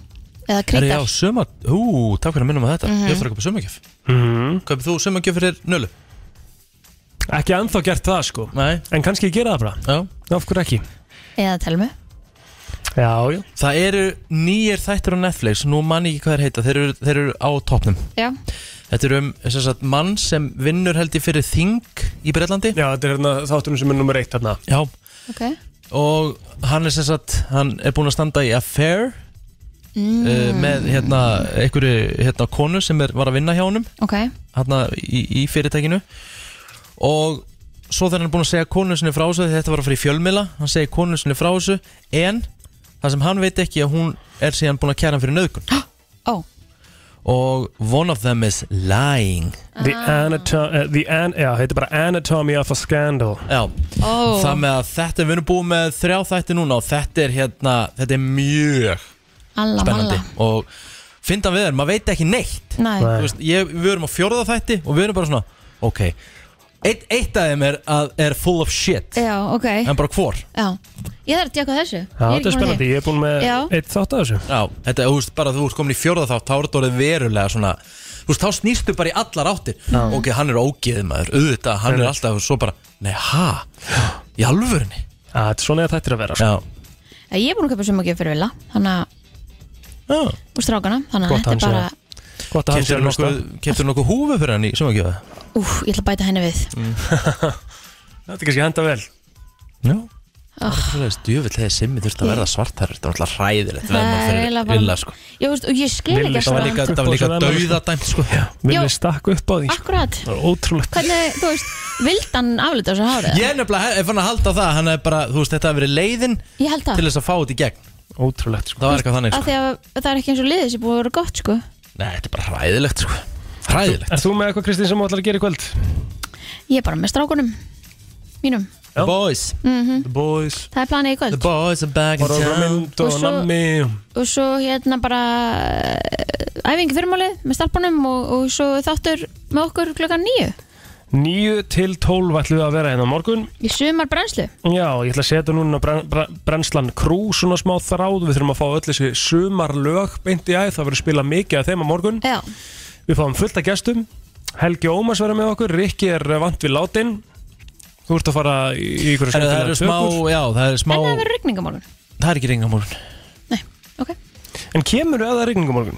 Er
Eða
ég á
kryddar
suma Ú, takk fyrir að minnum að þetta
Mhm.
Ég ætla að köpa sumakjöf mm -hmm. Kaupið þú sumakjöf fyrir nölu?
Mhm. Ekki anþá gert það sko
Nei.
En kannski gera það bara
Já.
Af hverju ekki?
Eða telmu
Já, já
Það eru nýjir þættir á Netflix Nú man ég ekki hvað þeir heita Þeir eru, þeir eru á topnum
Já
Þetta eru um sem sagt, mann sem vinnur held ég fyrir Þing í Breitlandi
Já, þetta er hérna, þátturinn sem er nummer eitt hérna
Já,
Ok
og hann er sem sagt Hann er búinn að standa í Affair
mm.
uh, Með hérna einhverju hérna, konu sem er, var að vinna hjá honum
Ok
hérna í, í fyrirtækinu og svo þegar hann er búin að segja konu sinni frá þessu því þetta var að fara í fjölmila hann segir konu sinni frá þessu en það sem hann veit ekki að hún er síðan búin að kæra hann fyrir nöðgun
oh.
og one of them is lying
The Anatom... Uh, the an já, heitir bara Anatomy of a Scandal
Já
Ó.
það með að þetta við erum búin með þrjá þætti núna og þetta er hérna þetta er mjög
Alla
spennandi
malla
og fyndan við erum, maður veit ekki neitt
Nei. Nei.
Þú veist, ég, við erum á fjórða þætti og við erum bara svona ok, eitt, eitt af þeim er, að, er full of shit
Já, ok
en bara hvor
Já Ég þarf að djaka þessu
Já,
Ég
þetta er
er ekki búin að
spennandi.
því.
Ég er búin með
Já.
eitt þátt að þessu
Já, þetta, þú veist, bara þú ert komin í fjórða þátt þá er þetta orðið verulega svona þú veist, þá snýstu bara í allar áttir ok, hann er ógeðið maður, auðvitað, hann er alltaf svo bara, nei, ha, í alvörni
Já, þetta er svona eða þættir að vera
sko.
Já, Ég er búin að kaupa sumagjöf fyrir Villa Þannig að
Já.
Og strákana Þannig að
Gott
þetta
hans
er bara
Gott að hann sé að hlusta.
Keftur nokkuð húfu fyrir hann í sumagjöða?
Úf, ég ætla að bæta henni við
Mm. Þetta er kannski henda vel
Já
Ah.
Djöfell, þegar Simmi þurfti að verða svartar Þetta var alltaf ræðilegt
Það
veðmál
er
fyrir
eiginlega bara-
Villa, sko.
Ég veist, og ég skil ekki
Það var líka, það var líka Ah. dauðadæmt sko.
Villi stakk upp á því
sko. Akkurat
Það var ótrúlegt
Hvernig, þú veist, vildan aflita þessu hárið?
Ég er nefnilega, ef hann að halda það hann er bara, þú veist, þetta hafi verið leiðin
Ég held það.
til þess að fá þetta í gegn
Ótrúlegt sko.
Það var eitthvað þannig
Af
sko.
því að það er ekki eins og liðið sem búið að vera gott, sko
Nei, þetta er bara hræðilegt sko. Hræðilegt
Er þú með eitthvað Kristín sem þú ætlar að gera í kvöld?
Ég er bara með strákunum Mínum
The boys
Mhm.
The boys
Það er planið í kvöld
boys are back
in town mynd og
Og svo-
nammi
Og svo hérna bara eh, Æfing fyrirmáli með starpunum og, og svo þáttur með okkur klukkan nýju
9 til 12 ætlum við að vera hérna á morgun
Í sumar brennslu
Já, ég ætla að setja núna brenn- brenn- brennslan krú svona smá þráð Við þurfum að fá öll þessi sumarlög beint í æð Það verður spila mikið af þeim á morgun
Já.
Við fáum fullt af gestum Helgi Ómas verður með okkur, Rikki er vant við látin Þú ert að fara í í einhverju
Herra, það
skemmtilega
eru smá,
tökur.
já, það eru smá
En það verður rigningamorgun
Það er ekki ringamorgun
En kemur eða ringamorgun?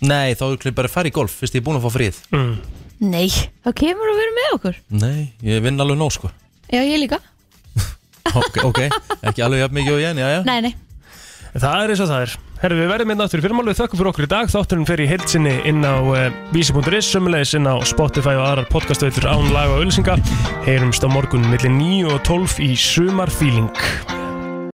Nei, þá er bara að fara í golf Fyrst ég er búin að fá fríð
mm.
Nei, þá kemur að vera með okkur
Nei, ég vinn alveg nóg
[LAUGHS]
sko
Já, ég líka
Ok, okay. ekki alveg jafn mikið og ég en já, já
Nei, nei
Það er eins og það er Herru, við verðum hérna aftur í fyrrmálið, þökkum fyrir okkur í dag Þátturinn fer í heilsinni inn á uh, vísi.is Sumulegis inn á Spotify og aðrar podcastveitur án laga og ölsinga Heyrumst á morgun millir 9 og 12 í sumarfíling